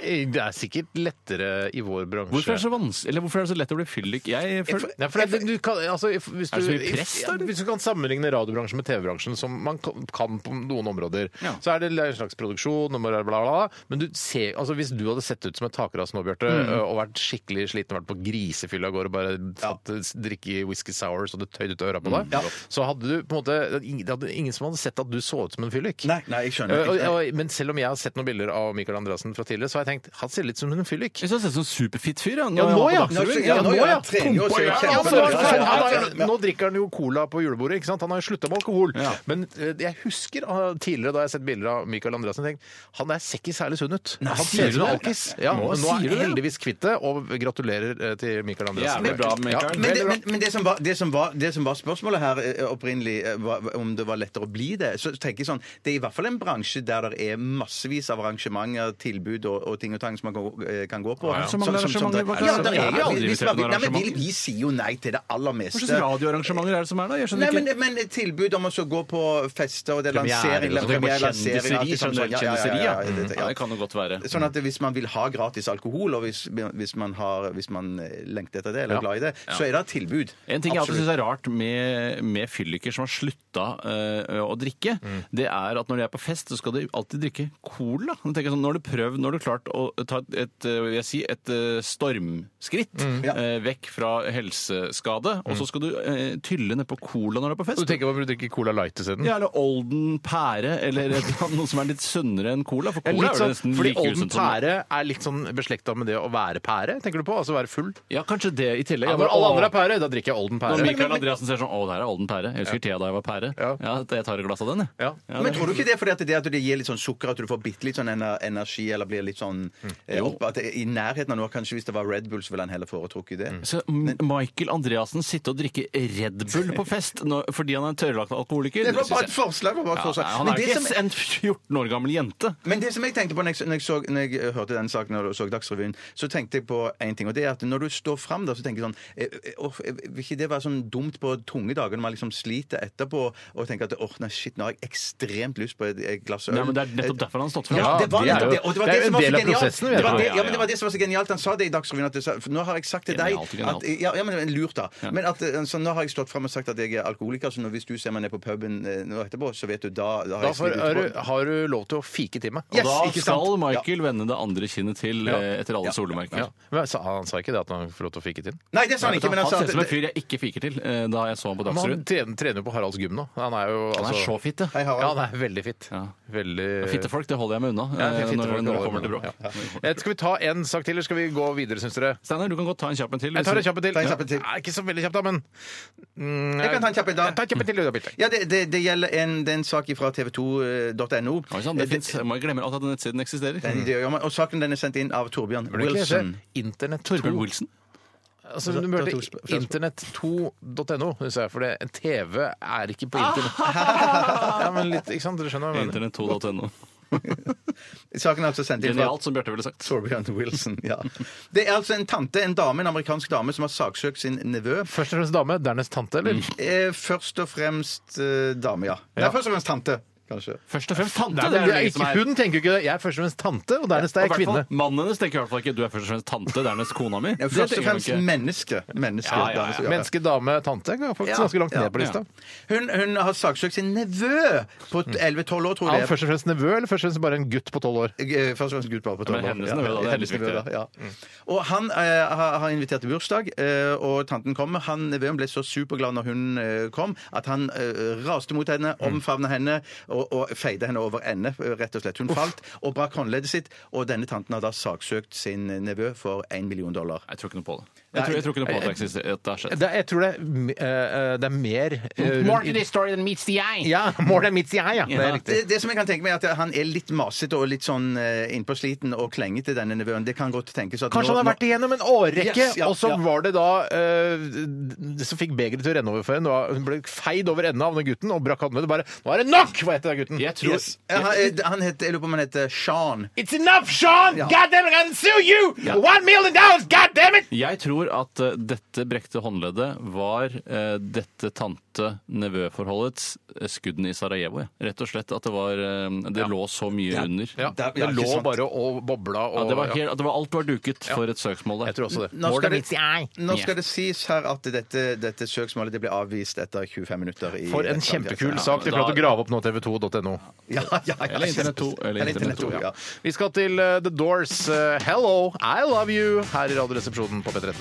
Eh, Det er sikkert lettere i vår bransje. Hvorfor er det så vanskelig, eller hvorfor er det så lett å bli fyllik? Jeg føler Nei, for det, du kan, altså, if- hvis du, Er det så mye press, da, eller? Hvis du kan sammenligne radiobransjen med TV-bransjen, som man kan- kan på noen områder, Ja. så er det en slags produksjon og bla, bla, bla. Men du ser, altså, hvis du hadde sett ut som et takras nå, Bjarte, Mm. øh, og vært skikkelig sliten og vært på grisefylla i går og bare tatt, drikke whisky sour så det tøyd ut av øra på deg, Mm. så hadde du på en måte det hadde ingen som hadde sett at du så ut som en fyllik. Øh, Nei, nei, jeg skjønner. Eh, Og, Jeg- og, men selv om jeg har sett noen bilder av Michael Andreassen fra tidligere, så har jeg tenkt han ser litt ut som en fyllik. jeg synes han ser ut som en superfit fyr. Ja, er nå han på ja! Dagsrevyen. Ja, nå ja! Han trenger jo å se Ja, kjempe- altså, Ja, han, ja, han ja. er, nå drikker han jo cola på julebordet. ikke sant? Han har jo slutta med alkohol. Ja. Men eh, jeg husker ah, tidligere da jeg har sett bilder av Michael Andreassen, tenkt han der ser ikke særlig sunn ut. Han sier ser ut du som en det? alkis. Ja, Nå men nå sier er du han det? heldigvis kvitt det, og gratulerer eh, til Michael Andreassen. Jævlig bra, Michael. Ja, veldig Men, det, bra. men, men det, som var, det, som var, det som var spørsmålet her eh, opprinnelig, eh, var, om det var lettere å bli det, så tenker jeg sånn Det er i hvert fall en bransje der det er massevis av arrangementer, tilbud og, og ting og tang som man kan, eh, kan gå på. Ja, ja. Som- Så mange som- som- arrangementer, hva er det Ja, som- der Jeg er har jo aldri hvis invitert man- på noe Nei, men vi, arrangement. vi sier jo nei til det aller Hva meste. slags radioarrangementer er det som er da? Jeg skjønner Nei, men, ikke. men tilbud om å så gå på fester og det er Premiere, altså, lansering, det er Bare premiere, lansering alt Kjendiseri, det sånn, generelt ja, ja, ja, kjendiseri, ja. ja, det- Ja, det kan jo godt være. Sånn at hvis man vil ha gratis alkohol, og hvis, hvis, man, har, hvis man eh, lengter etter det, eller er glad i det, så er det et tilbud. En ting jeg alltid Absolutt. syns er rart med, med fylliker som har slutta eh, å drikke, Mm. det er at når de er på fest, så skal de alltid drikke cola. Nå tenker jeg sånn, Nå har du prøvd, nå har du klart å ta et, et, eh, vil jeg si, et eh, stormskritt Mm. Ja. eh, vekk fra helseskade, og så skal du eh, tylle nedpå cola når du er på Du fest. tenker på å drikke Cola Light isteden? Ja, eller Olden pære, eller et eller annet, noe som er litt sunnere enn cola. For Ja, cola litt er jo sånn, nesten fordi like Olden usunt som pære er litt sånn beslekta med det å være pære, tenker du på? Altså være full? Ja, kanskje det i tillegg. Ja, når alle andre er pære, da drikker jeg Olden Når pære. Michael Andreassen ser sånn Å, det her er Olden pære. Jeg husker Thea da jeg var pære. Ja. Ja, jeg tar et glass av den, jeg. Ja. Ja, Men det- tror du ikke det er fordi at det, at det gir litt sånn sukker, at du får bitte litt sånn ener- energi, eller blir litt sånn eh, opp, at det, I nærheten av noe, kanskje hvis det var Red Bull, så ville han heller foretrukket det. Så M- Michael Andreassen sitte og drikke Red Bull på fest nå, fordi han er en tørrlagt alkoholiker? Det var synes bare jeg- et forslag. det Var bare et Ja, nei, forslag. han Men er det ikke som- en 14 år gammel jente. Men det som jeg tenkte på når jeg, når jeg, så, når jeg eh, hørte den saken og så Dagsrevyen, så tenkte jeg på en ting. Og det er at når du står fram der, så tenker jeg sånn eh, eh, åh, eh, Vil ikke det være sånn dumt på tunge dager når man liksom sliter etterpå og tenker at åh, nei, shit, nå har jeg ekstremt lyst på et et glass øl. Nei, men Det er nettopp derfor han har stått fram. Ja, det var det er nettopp jo- det. Og det var det er det jo som en var del av så genialt. prosessen, vet Det var du. det, Ja, ja, ja, men det var det som var så genialt. Han sa det i Dagsrevyen. At det, sa- for nå har jeg sagt til deg Genialt, genialt. at, ja, ja, men lurt, da. Men at, eh, så nå har jeg stått fram og sagt at jeg er alkoholiker, så nå, hvis du ser meg ned på puben eh, nå etterpå, så vet du da, da har Da jeg får, slitt er, etterpå. du- har du lov til å fike til meg. Og da ikke sant? skal Michael vende det andre kinnet til eh, etter alle solemerker. Ja. Men sa- han sa ikke det at han får lov til å fike til? Nei, det sa han ikke, men han han sa ser ut som en at fyr jeg ikke fiker til eh, da jeg så ham på Men han Dagsrevyen. trener, trener jo på Haralds gym nå. Han er jo Han er altså- så fitt, ja. Hei, Harald. Ja, han er veldig fitt. Ja. Veldig Fittefolk, det holder jeg meg unna Ja, eh, fittefolk når, når det kommer holder til bråk. jeg meg unna. Eh, Skal vi ta en sak til, eller skal vi gå videre, syns dere? Steinar, du kan godt ta en kjapp en til. Jeg tar en kjapp en til. Ta en kjapp en til. Nei, ikke så veldig kjapp, da, men mm, Jeg kan ta en kjapp en da. Ja, Ta en kjapp en til, Uda Birte. Ja, det, det, det gjelder en, det er en sak fra tv2.no. Oi sann, det finnes- eh, man glemmer alltid at den nettsiden eksisterer. Den- Eh, Mm. det gjør man. Og saken den er sendt inn av Torbjørn Burde det ikke Wilson. hete Internett 2. Torbjørn Wilson? Altså, du Da- da burde to sp- internett2.no, syns jeg, for det, en TV er ikke Ah! på internett. ja, men litt, ikke sant? Dere skjønner hva jeg mener? Internett2.no. Saken er altså sendt inn fra Genialt, som Bjarte ville sagt. Torbjørn Wilson, ja. Det er altså en tante, en dame, en amerikansk dame, som har saksøkt sin nevø. Først Mm. og fremst dame, dernest tante, eller? Eh, først og fremst eh, dame, ja. Nei, Ja. først og fremst tante. kanskje. Først og fremst tante. Nei, det men er det det er som ikke, er- hun tenker jo ikke det. Jeg er først og fremst tante, og dernest er Og jeg i hvert kvinne. fall Mannen hennes tenker i hvert fall ikke du er først og fremst tante, dernest kona mi. Ja, først Det og tenker han fremst ikke. menneske. menneske Ja, ja, ja. menneske, Menneske, dame, tante. er Faktisk ganske langt ned på ja. lista. Hun, hun har saksøkt sin nevø på Mm. 11-12 år, tror Er jeg. han først og fremst nevø, eller først og fremst bare en gutt på tolv år? Eh, Først og fremst gutt bare på 12 år. Men hennes nevø, da, det er hennes litt nevø, viktigere. da, Mm. ja. Og han eh, har, har invitert til bursdag, eh, og tanten kommer. Han nevøen ble så superglad når hun eh, kom, at han eh, raste mot henne, Mm. omfavna henne og, og feide henne over ende, eh, rett og slett. Hun falt og brakk håndleddet sitt, og denne tanten har da saksøkt sin nevø for 1 million dollar. Jeg tror ikke noe på det. Jeg tror, jeg tror ikke noe på at det eksisterer. At det har skjedd. Det, er- jeg tror det, er m- eh, eh, det er mer eh, rundt- story than meets the eye. Ja, more than meets the eye, ja. Det er Ja. riktig. Det, det som jeg kan tenke meg er at han er litt masete og litt sånn eh, innpåsliten og klengete, denne nevøen. Det kan godt tenkes at Kanskje nå- han har vært igjennom en årrekke, Yes, ja, og så ja. var det da eh, det som fikk begeret til å renne over for henne. og Hun ble feid over enden av den gutten og brakk håndleddet. Bare 'Nå er det nok!' Hva heter den gutten? Jeg tror Yes. Eh, Han, eh, han heter, jeg lurer på om han heter Sean. It's enough, Sean! Ja. God damn it, I'm gonna sue you! One million dollars, god damn it! Jeg tror at eh, dette brekte håndleddet var eh, dette tante-nevø-forholdets eh, skuddene i Sarajevo. Ja. Rett og slett at det var eh, Det lå så mye under. Ja, Det er- det, ja, ikke lå sant. bare og bobla og Ja, det var helt, at det var alt var duket for et søksmål Jeg der. tror også det. Nå More skal than det- meets the eye. Nå skal det sies her at dette, dette søksmålet det ble avvist etter 25 minutter. I For en rettssaken. kjempekul Ja. sak. Dere får lov til å grave opp nå tv2.no. Ja, ja, ja, Eller Internett 2, eller Internett 2, ja. Vi skal til eh, The Doors. eh, Hello, I love you her i Radioresepsjonen på P13.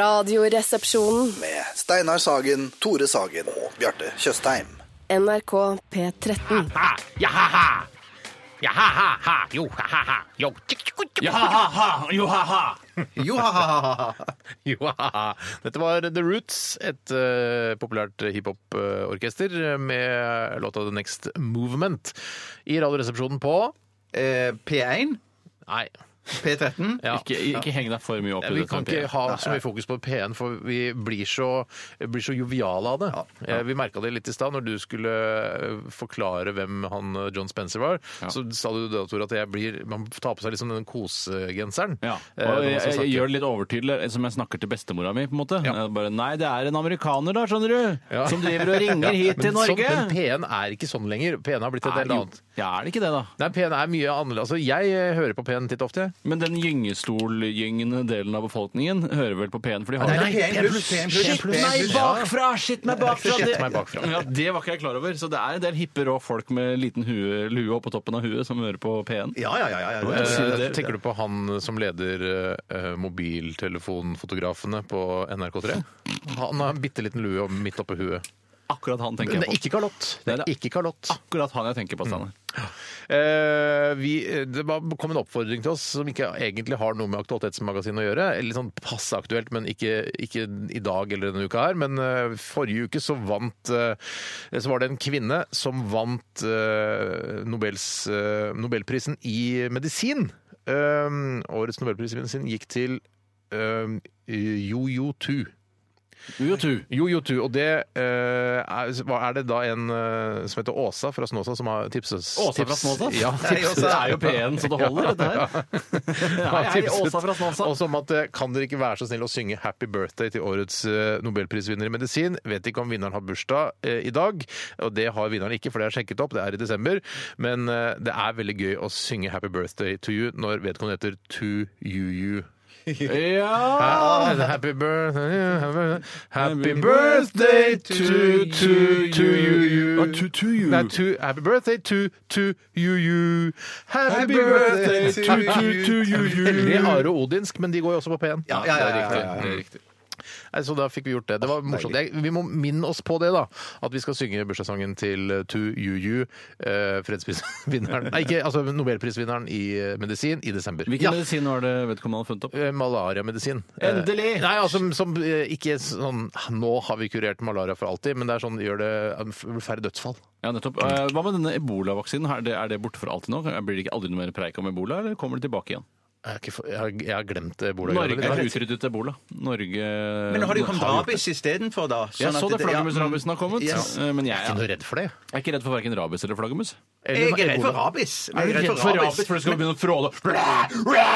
Radioresepsjonen. Med Steinar Sagen, Tore Sagen og Bjarte Tjøstheim. NRK P13. Ha, ja, ha, ha. Ja, ha, ha, ha. Jo, ha, ha, ha. Jo, tsk, tsk, tsk. Jo, ha, ha, ha, ha, ha. Jo, ha, ha, ha. Dette var The Roots, et eh, populært hiphop-orkester med låta The Next Movement i Radioresepsjonen på Eh, P1, Nei. P13 Ja. Ikke, ikke heng deg for mye opp i Vi dette. kan ikke Per. ha så mye fokus på P1, for vi blir så, blir så joviale av det. Eh, Vi merka det litt i stad, når du skulle eh, forklare hvem han eh, John Spencer var. Så sa du det, Tore, at jeg blir, man tar på seg liksom den kosegenseren. Ja. eh, Og når man jeg, skal jeg, snakke. gjør det litt overtydelig, eh, som jeg snakker til bestemora mi. på en måte. Jeg Bare, Nei, det er en amerikaner, da, skjønner du, Ja. som driver og ringer Ja, hit til men sånn- Norge. men P1 er ikke sånn lenger. P1 har blitt et Er, helt jo, annet. ja, er det ikke det, da? Nei, P1 er mye annerledes. Altså, jeg eh, hører på P1 titt ofte. jeg. Men den gyngestolgyngende delen av befolkningen hører vel på P1, for de har Nei, det er P1 pluss, P1 pluss. Shit P1 meg pluss, ja. bakfra! Shit meg bakfra! Shit Det, meg bakfra. Ja, det var ikke jeg klar over. Så det er en del hippe, rå folk med liten hue, lue oppå toppen av huet som hører på P1. Ja, ja, ja. ja, ja. Eh, si det. Tenker du på han som leder eh, mobiltelefonfotografene på NRK3? Han har en bitte liten lue og midt oppi huet. Akkurat han tenker Men det er jeg på. ikke kalott. Det er ikke kalott. Akkurat han jeg tenker på. Steinar. Eh, vi, det var- kom en oppfordring til oss som ikke egentlig har noe med Aktualitetsmagasinet å gjøre. Litt sånn passe aktuelt, men ikke, ikke i dag eller denne uka her. Men eh, forrige uke så vant eh, Så var det en kvinne som vant eh, Nobels, eh, Nobelprisen i medisin. Eh, årets nobelpris i medisin gikk til eh, Jojo Tu. U2. Jo, jo, tu. Og det eh, er, hva er det da en eh, som heter Åsa fra Snåsa som har tipset Åsa fra tips- Snåsa? Ja, Hei, Åsa. Det er jo P1, så det holder, dette her. Hei, hei, Åsa fra Snåsa. Og som at eh, kan dere ikke være så snill å synge 'Happy Birthday' til årets eh, nobelprisvinner i medisin? Vet ikke om vinneren har bursdag eh, i dag, og det har vinneren ikke, for det er sjekket opp, det er i desember. Men eh, det er veldig gøy å synge 'Happy Birthday to you' når vedkommende heter To You You. Ja! Happy birthday, happy birthday to, to, to you, you. Ah, to- to you. Nei, to, happy birthday to, to you, you. Happy, Happy birthday, to, birthday to to, you. to you, you. Veldig Are Odinsk, men de går jo også på P1. Ja, ja, ja, ja, ja, ja. Det er riktig. Det er riktig. Nei, Så da fikk vi gjort det. Det var morsomt. Jeg, vi må minne oss på det, da. At vi skal synge bursdagssangen til eh, To Juju, eh, fredsprisvinneren Nei, ikke altså nobelprisvinneren i eh, medisin i desember. Hvilken medisin var det vedkommende hadde funnet opp? Eh, malariamedisin. Eh, Endelig! Nei, altså, som, som eh, ikke sånn Nå har vi kurert malaria for alltid, men det er sånn gjør det eh, færre dødsfall. Ja, nettopp. Eh, Hva med denne ebola-vaksinen? Er det, er det borte for alltid nå? Blir det ikke aldri noe mer preik om ebola, eller kommer det tilbake igjen? Jeg har, ikke, for- jeg har, jeg har glemt eh, ebola. Norge har utryddet ebola. Norge Men nå har det jo kommet har rabies istedenfor, da. Sånn Jeg så ja, det mm. flaggermusrabiesen har kommet, Yes. eh, men Jeg jeg er ikke er, noe redd for det. jeg er Eh, ikke redd for verken rabies eller flaggermus. Eller- Jeg er redd for Ebola. rabies. Er Jeg du redd for rabies? For det skal begynne å fråle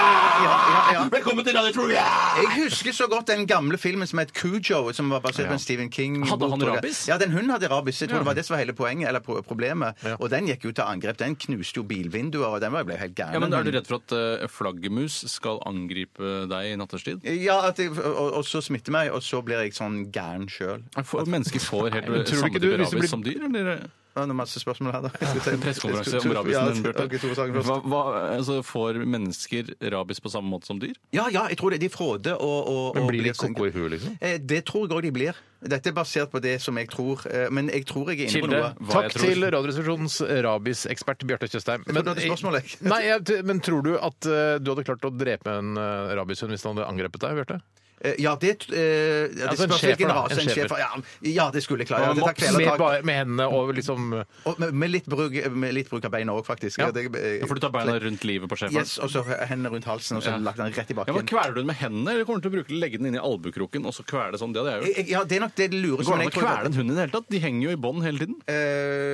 Velkommen til Radio True! Jeg husker så godt den gamle filmen som het Cujo, som var basert på en Stephen King. Hadde han tror jeg. rabies? Ja, den hunden hadde rabies. Jeg tror det var det som var hele poenget, eller pro- problemet. Og den gikk jo til angrep. Den knuste jo bilvinduer, og den var- ble helt gæren. Ja, men Er du redd for at eh, flaggermus skal angripe deg i nattestid? Ja, at jeg, og, og så smitter meg, og så blir jeg sånn gæren sjøl. For mennesker får helt men tror du samme ikke du- type hvis du rabies blir- som dyr, eller? Det er masse spørsmål her, da. Pressekonferanse om rabisen din, Bjarte. ok, Tore Sagen først. Hva- hva- altså, Får mennesker rabies på samme måte som dyr? Ja, ja, jeg tror det. De fråder og, og, Men og blir de sånn- koko i huet, liksom? Eh, Det tror jeg òg de blir. Dette er basert på det som jeg tror. eh, Men jeg tror jeg er inne på Kilde, noe. hva Takk jeg tror. til Radioresepsjonens rabisekspert Bjarte Tjøstheim. Jeg trodde du hadde spørsmål, jeg. nei, jeg, men tror du at eh, du hadde klart å drepe en eh, rabieshund hvis den hadde angrepet deg, Bjarte? Eh, Ja, det, eh, det Altså, en spørs schæfer, hvilken da. rase En en schæfer. schæfer ja, ja, det skulle jeg klare. Ja, det med, tar kvelertak. bare- med hendene og liksom Og med, med, litt bruk, med litt bruk av beina òg, faktisk. Ja. Det, eh, For du tar beina rundt livet på schæferen? Yes, og så hendene rundt halsen, og så Ja. lagt den rett i Ja, men bakken. Kveler du den med hendene, eller kommer du til å bruke legge den inn i albukroken og så kvele sånn? Det hadde jeg gjort. Eh, Jeg- jeg- Ja, det er nok det lure Går det an å kvele en hund i det hele tatt? De henger jo i bånd hele tiden. Eh,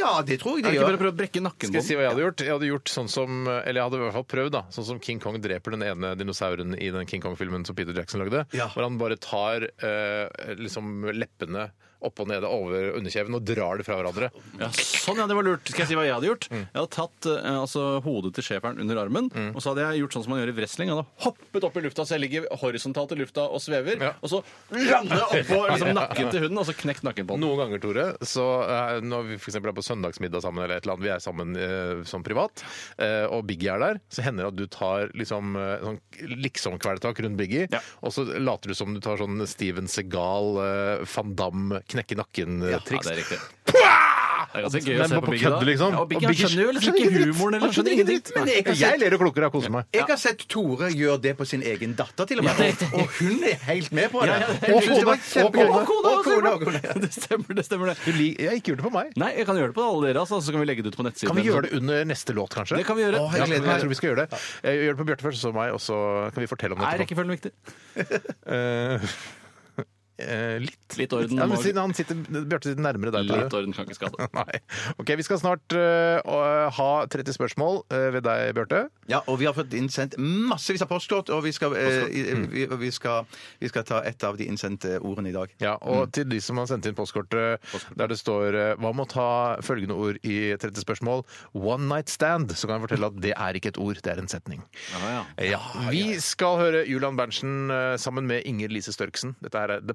Ja, det tror jeg Er de det ikke bare å gjør. prøve å brekke nakken Skal på jeg si den? hva jeg hadde gjort? Jeg hadde gjort sånn som, eller jeg hadde i hvert fall prøvd da, sånn som King Kong dreper den ene dinosauren i den King Kong-filmen som Peter Jackson lagde, Ja. hvor han bare tar eh, liksom leppene opp og nede over underkjeven og drar det fra hverandre. Ja, sånn, ja, det var lurt. Skal jeg si hva jeg hadde gjort? Mm. Jeg hadde tatt eh, altså, hodet til schæferen under armen, og så hadde jeg gjort sånn som man gjør i wrestling. Jeg hadde hoppet opp i lufta, så jeg ligger horisontalt i lufta og svever, Ja. og så lande oppå liksom, nakken til hunden, og så knekt nakken på den. Noen ganger, Tore, så eh, når vi for eksempel er på søndagsmiddag sammen, eller et eller annet, vi er sammen eh, som privat, eh, og Biggie er der, så hender det at du tar liksom eh, sånn liksom-kvelertak rundt Biggie, Ja. og så later du som du tar sånn Steven Segal, eh, Van Damme, eh, Ja, knekke-nakken-triks. det er riktig. Det er ganske gøy Men å se bare på Biggie da. kødd, liksom. Ja, og Biggie, han Biggie skjønner jo liksom skjønner ikke dritt. humoren, eller Han skjønner skjønner ikke dritt. ingenting. Men jeg, jeg ler og klukker og koser meg. Jeg har sett Tore gjøre det på sin egen datter, til og med. og, og hun er helt med på det. ja, det- Jeg synes det var Og kjempegøy. Og kona, Og kona, og kona. Det stemmer, det stemmer det. Du lik- Jeg har ikke gjort det på meg. Nei, jeg kan gjøre det på alle dere, altså, så kan vi legge det ut på nettsiden. Kan vi gjøre det under neste låt, kanskje? Det kan vi gjøre. Å, Ja, jeg jeg gleder meg. tror vi skal gjøre det. Eh, Gjør det på Bjarte først, så meg, og så kan vi fortelle om det. Er etterpå. rekkefølgen viktig? Eh, eh, litt. Litt orden Ja, men må- siden han sitter, Bjarte sitter nærmere deg. Tore. Litt orden kan ikke skade. Nei. Ok, Vi skal snart eh, å- ha 30 spørsmål eh, ved deg, Bjarte. Ja, og vi har fått innsendt massevis av postkort, og vi skal, eh, i- Mm. vi, vi skal, vi skal ta et av de innsendte ordene i dag. Ja, og til de som har sendt inn postkortet der det står eh, Hva med å ta følgende ord i 30 spørsmål? One night stand. Så kan jeg fortelle at det er ikke et ord, det er en setning. Ja, Ja, Vi skal høre Julian Berntsen eh, sammen med Inger Lise Størksen. Dette her er The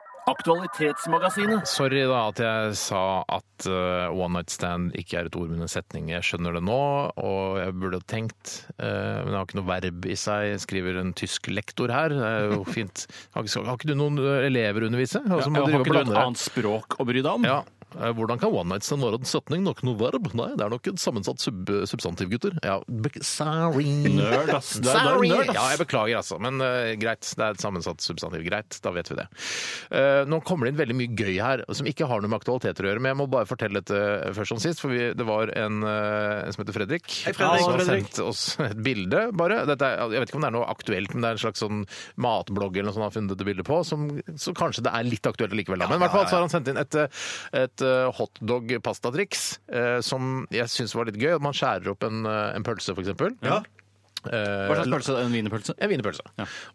Aktualitetsmagasinet. Sorry da at jeg sa at eh, one night stand ikke er et ord, men en setning. Jeg skjønner det nå, og jeg burde ha tenkt, eh, men det har ikke noe verb i seg, skriver en tysk lektor her. Det er jo fint. Har ikke, har ikke du noen eh, elever å undervise? Og så må Ja, du drive og har ikke du et blande deg. annet språk å bry deg om? Ja. Eh, Hvordan kan one night stand være en setning? Nok noe verb? Nei, det er nok et sammensatt sub substantiv, gutter. Ja, be- sorry. Nerd, ass. Du er- du er Sorry. nerd, ass. Ja, jeg beklager, altså. Men eh, greit, det er et sammensatt substantiv. Greit, da vet vi det. Eh, nå kommer det inn veldig mye gøy her som ikke har noe med aktualiteter å gjøre. Men jeg må bare fortelle dette først som sist, for vi, det var en, eh, en som heter Fredrik, Hei, Fredrik. som har Hallo, Fredrik. sendt oss et bilde, bare. Dette er, jeg vet ikke om det er noe aktuelt, men det er en slags sånn matblogg eller noe sånt han har funnet dette bildet på, som, så kanskje det er litt aktuelt likevel. Da. Men i hvert fall så har han sendt inn et, eh, et eh, hotdog-pastatriks eh, som jeg syns var litt gøy. Man skjærer opp en, eh, en pølse, for eksempel. Ja. Eh, Hva slags pølse? En wienerpølse? en wienerpølse.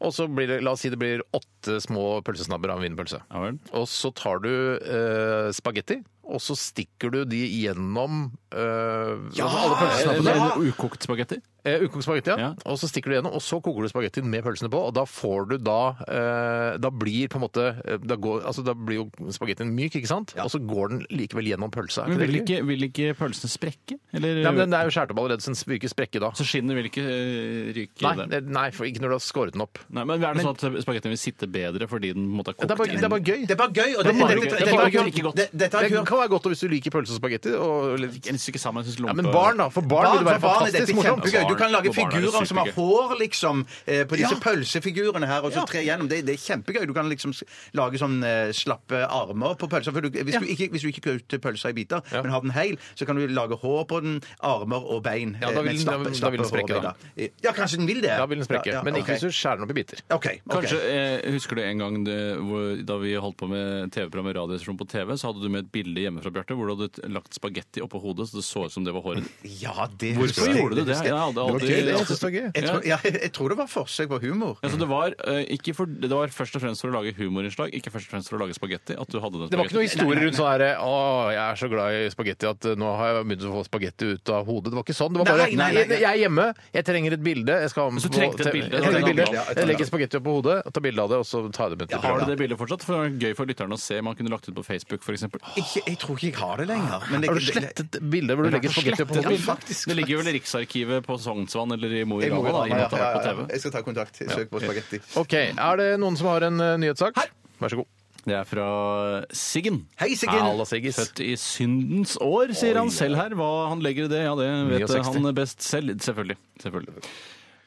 Og så blir det, la oss si det blir åtte små pølsesnabber av en wienerpølse. Ja vel. Og så tar du eh, spagetti, og så stikker du de gjennom eh, altså alle pølsesnabbene. En en ukokt spagetti? Eh, Ukokt spagetti, ja. Ja. Og så stikker du gjennom, og så koker du spagettien med pølsene på, og da får du da eh, Da blir på en måte eh, da, går, altså, da blir jo spagettien myk, ikke sant? Og så går den likevel gjennom pølsa. Er Men ikke det vil hyggelig? ikke, vil ikke pølsene sprekke? Eller Nei, men Den er jo skåret opp allerede, så den vil ikke sprekke da. så skinnet vil ikke eh, ryke? Nei, der. det- nei, for ikke når du har skåret den opp. Nei, men er det sånn at spagettien vil sitte bedre fordi den måtte ha Det kokt er bare, det er bare gøy. Det er bare gøy. og Det er det- bare det- gøy. det- Det er bare dette- ikke godt. det- Dette har jeg Det hørt kan kan være godt hvis du liker pølse og spagetti. Og litt... Jeg synes ikke sammen, jeg synes Ja, lompe- men barn, da. For barn vil det være for barn er dette fantastisk morsomt. kjempegøy. Du kan lage For barn er det figurer som har supergøy. hår, liksom, eh, på disse Ja. pølsefigurene her, og så tre gjennom. Det, det er kjempegøy. Du kan liksom s- lage sånn eh, slappe armer på pølser. For du, hvis, du ikke, hvis du ikke kutter pølsa i biter, men har den heil, så kan du lage hår på den, armer og bein. Ja, da eh, vil men den- da vil- da vil den hår og sprekke, da. bein, Ja, kanskje den vil det. Da vil den sprekke. Ja, ja, Men ikke ok. hvis du skjærer den opp i biter. OK. ok. Kanskje, eh, Husker du en gang det, hvor, da vi holdt på med TV-programmet Radioresepsjon på TV, så hadde du med et bilde hjemme fra Bjarte hvor du hadde t- lagt spagetti oppå hodet, så det så ut som det var håret. Ja, det Hvorfor gjorde du det? Jeg hadde Det var aldri gøy, det. Jeg synes det var gøy. Jeg tror, ja, jeg tror det var forsøk på humor. Altså, det, var, eh, ikke for, det var først og fremst for å lage humorinnslag, ikke først og fremst for å lage spagetti. at du hadde den Det var ikke noe spagetti. historie rundt sånn herre Å, jeg er så glad i spagetti at eh, nå har jeg begynt å få spagetti ut av hodet. Det var ikke sånn. Det var bare Nei, nei, nei, nei. Jeg er hjemme, jeg trenger et bilde. Jeg skal ha med Så du på trengte et TV. bilde, Jeg, trenger et da. bilde. Ja, jeg tar jeg det. legger spagetti opp på hodet, tar bilde av det, og så tar jeg det med til Har du programmet. det bildet fortsatt? For det var gøy for lytterne å se. Man kunne lagt ut på Facebook, f.eks. Ikke, jeg tror ikke jeg har det lenger. Men det, Har du slettet bildet hvor du legger spagetti opp på Ja, hodet? faktisk. Det ligger vel i Riksarkivet på Sognsvann eller i Mo i Jeg må Rana, da, i og med at det har vært på TV. Jeg skal ta kontakt. Søk på spagetti. OK. Er det noen som har en eh, nyhetssak? Her. Vær så god. Det er fra Siggen. Hei, Siggen! Halla, Siggis. Født i syndens år, sier han Oi, selv her. Hva han legger i det, ja, det vet 69. han best selv. Selvfølgelig. Selvfølgelig.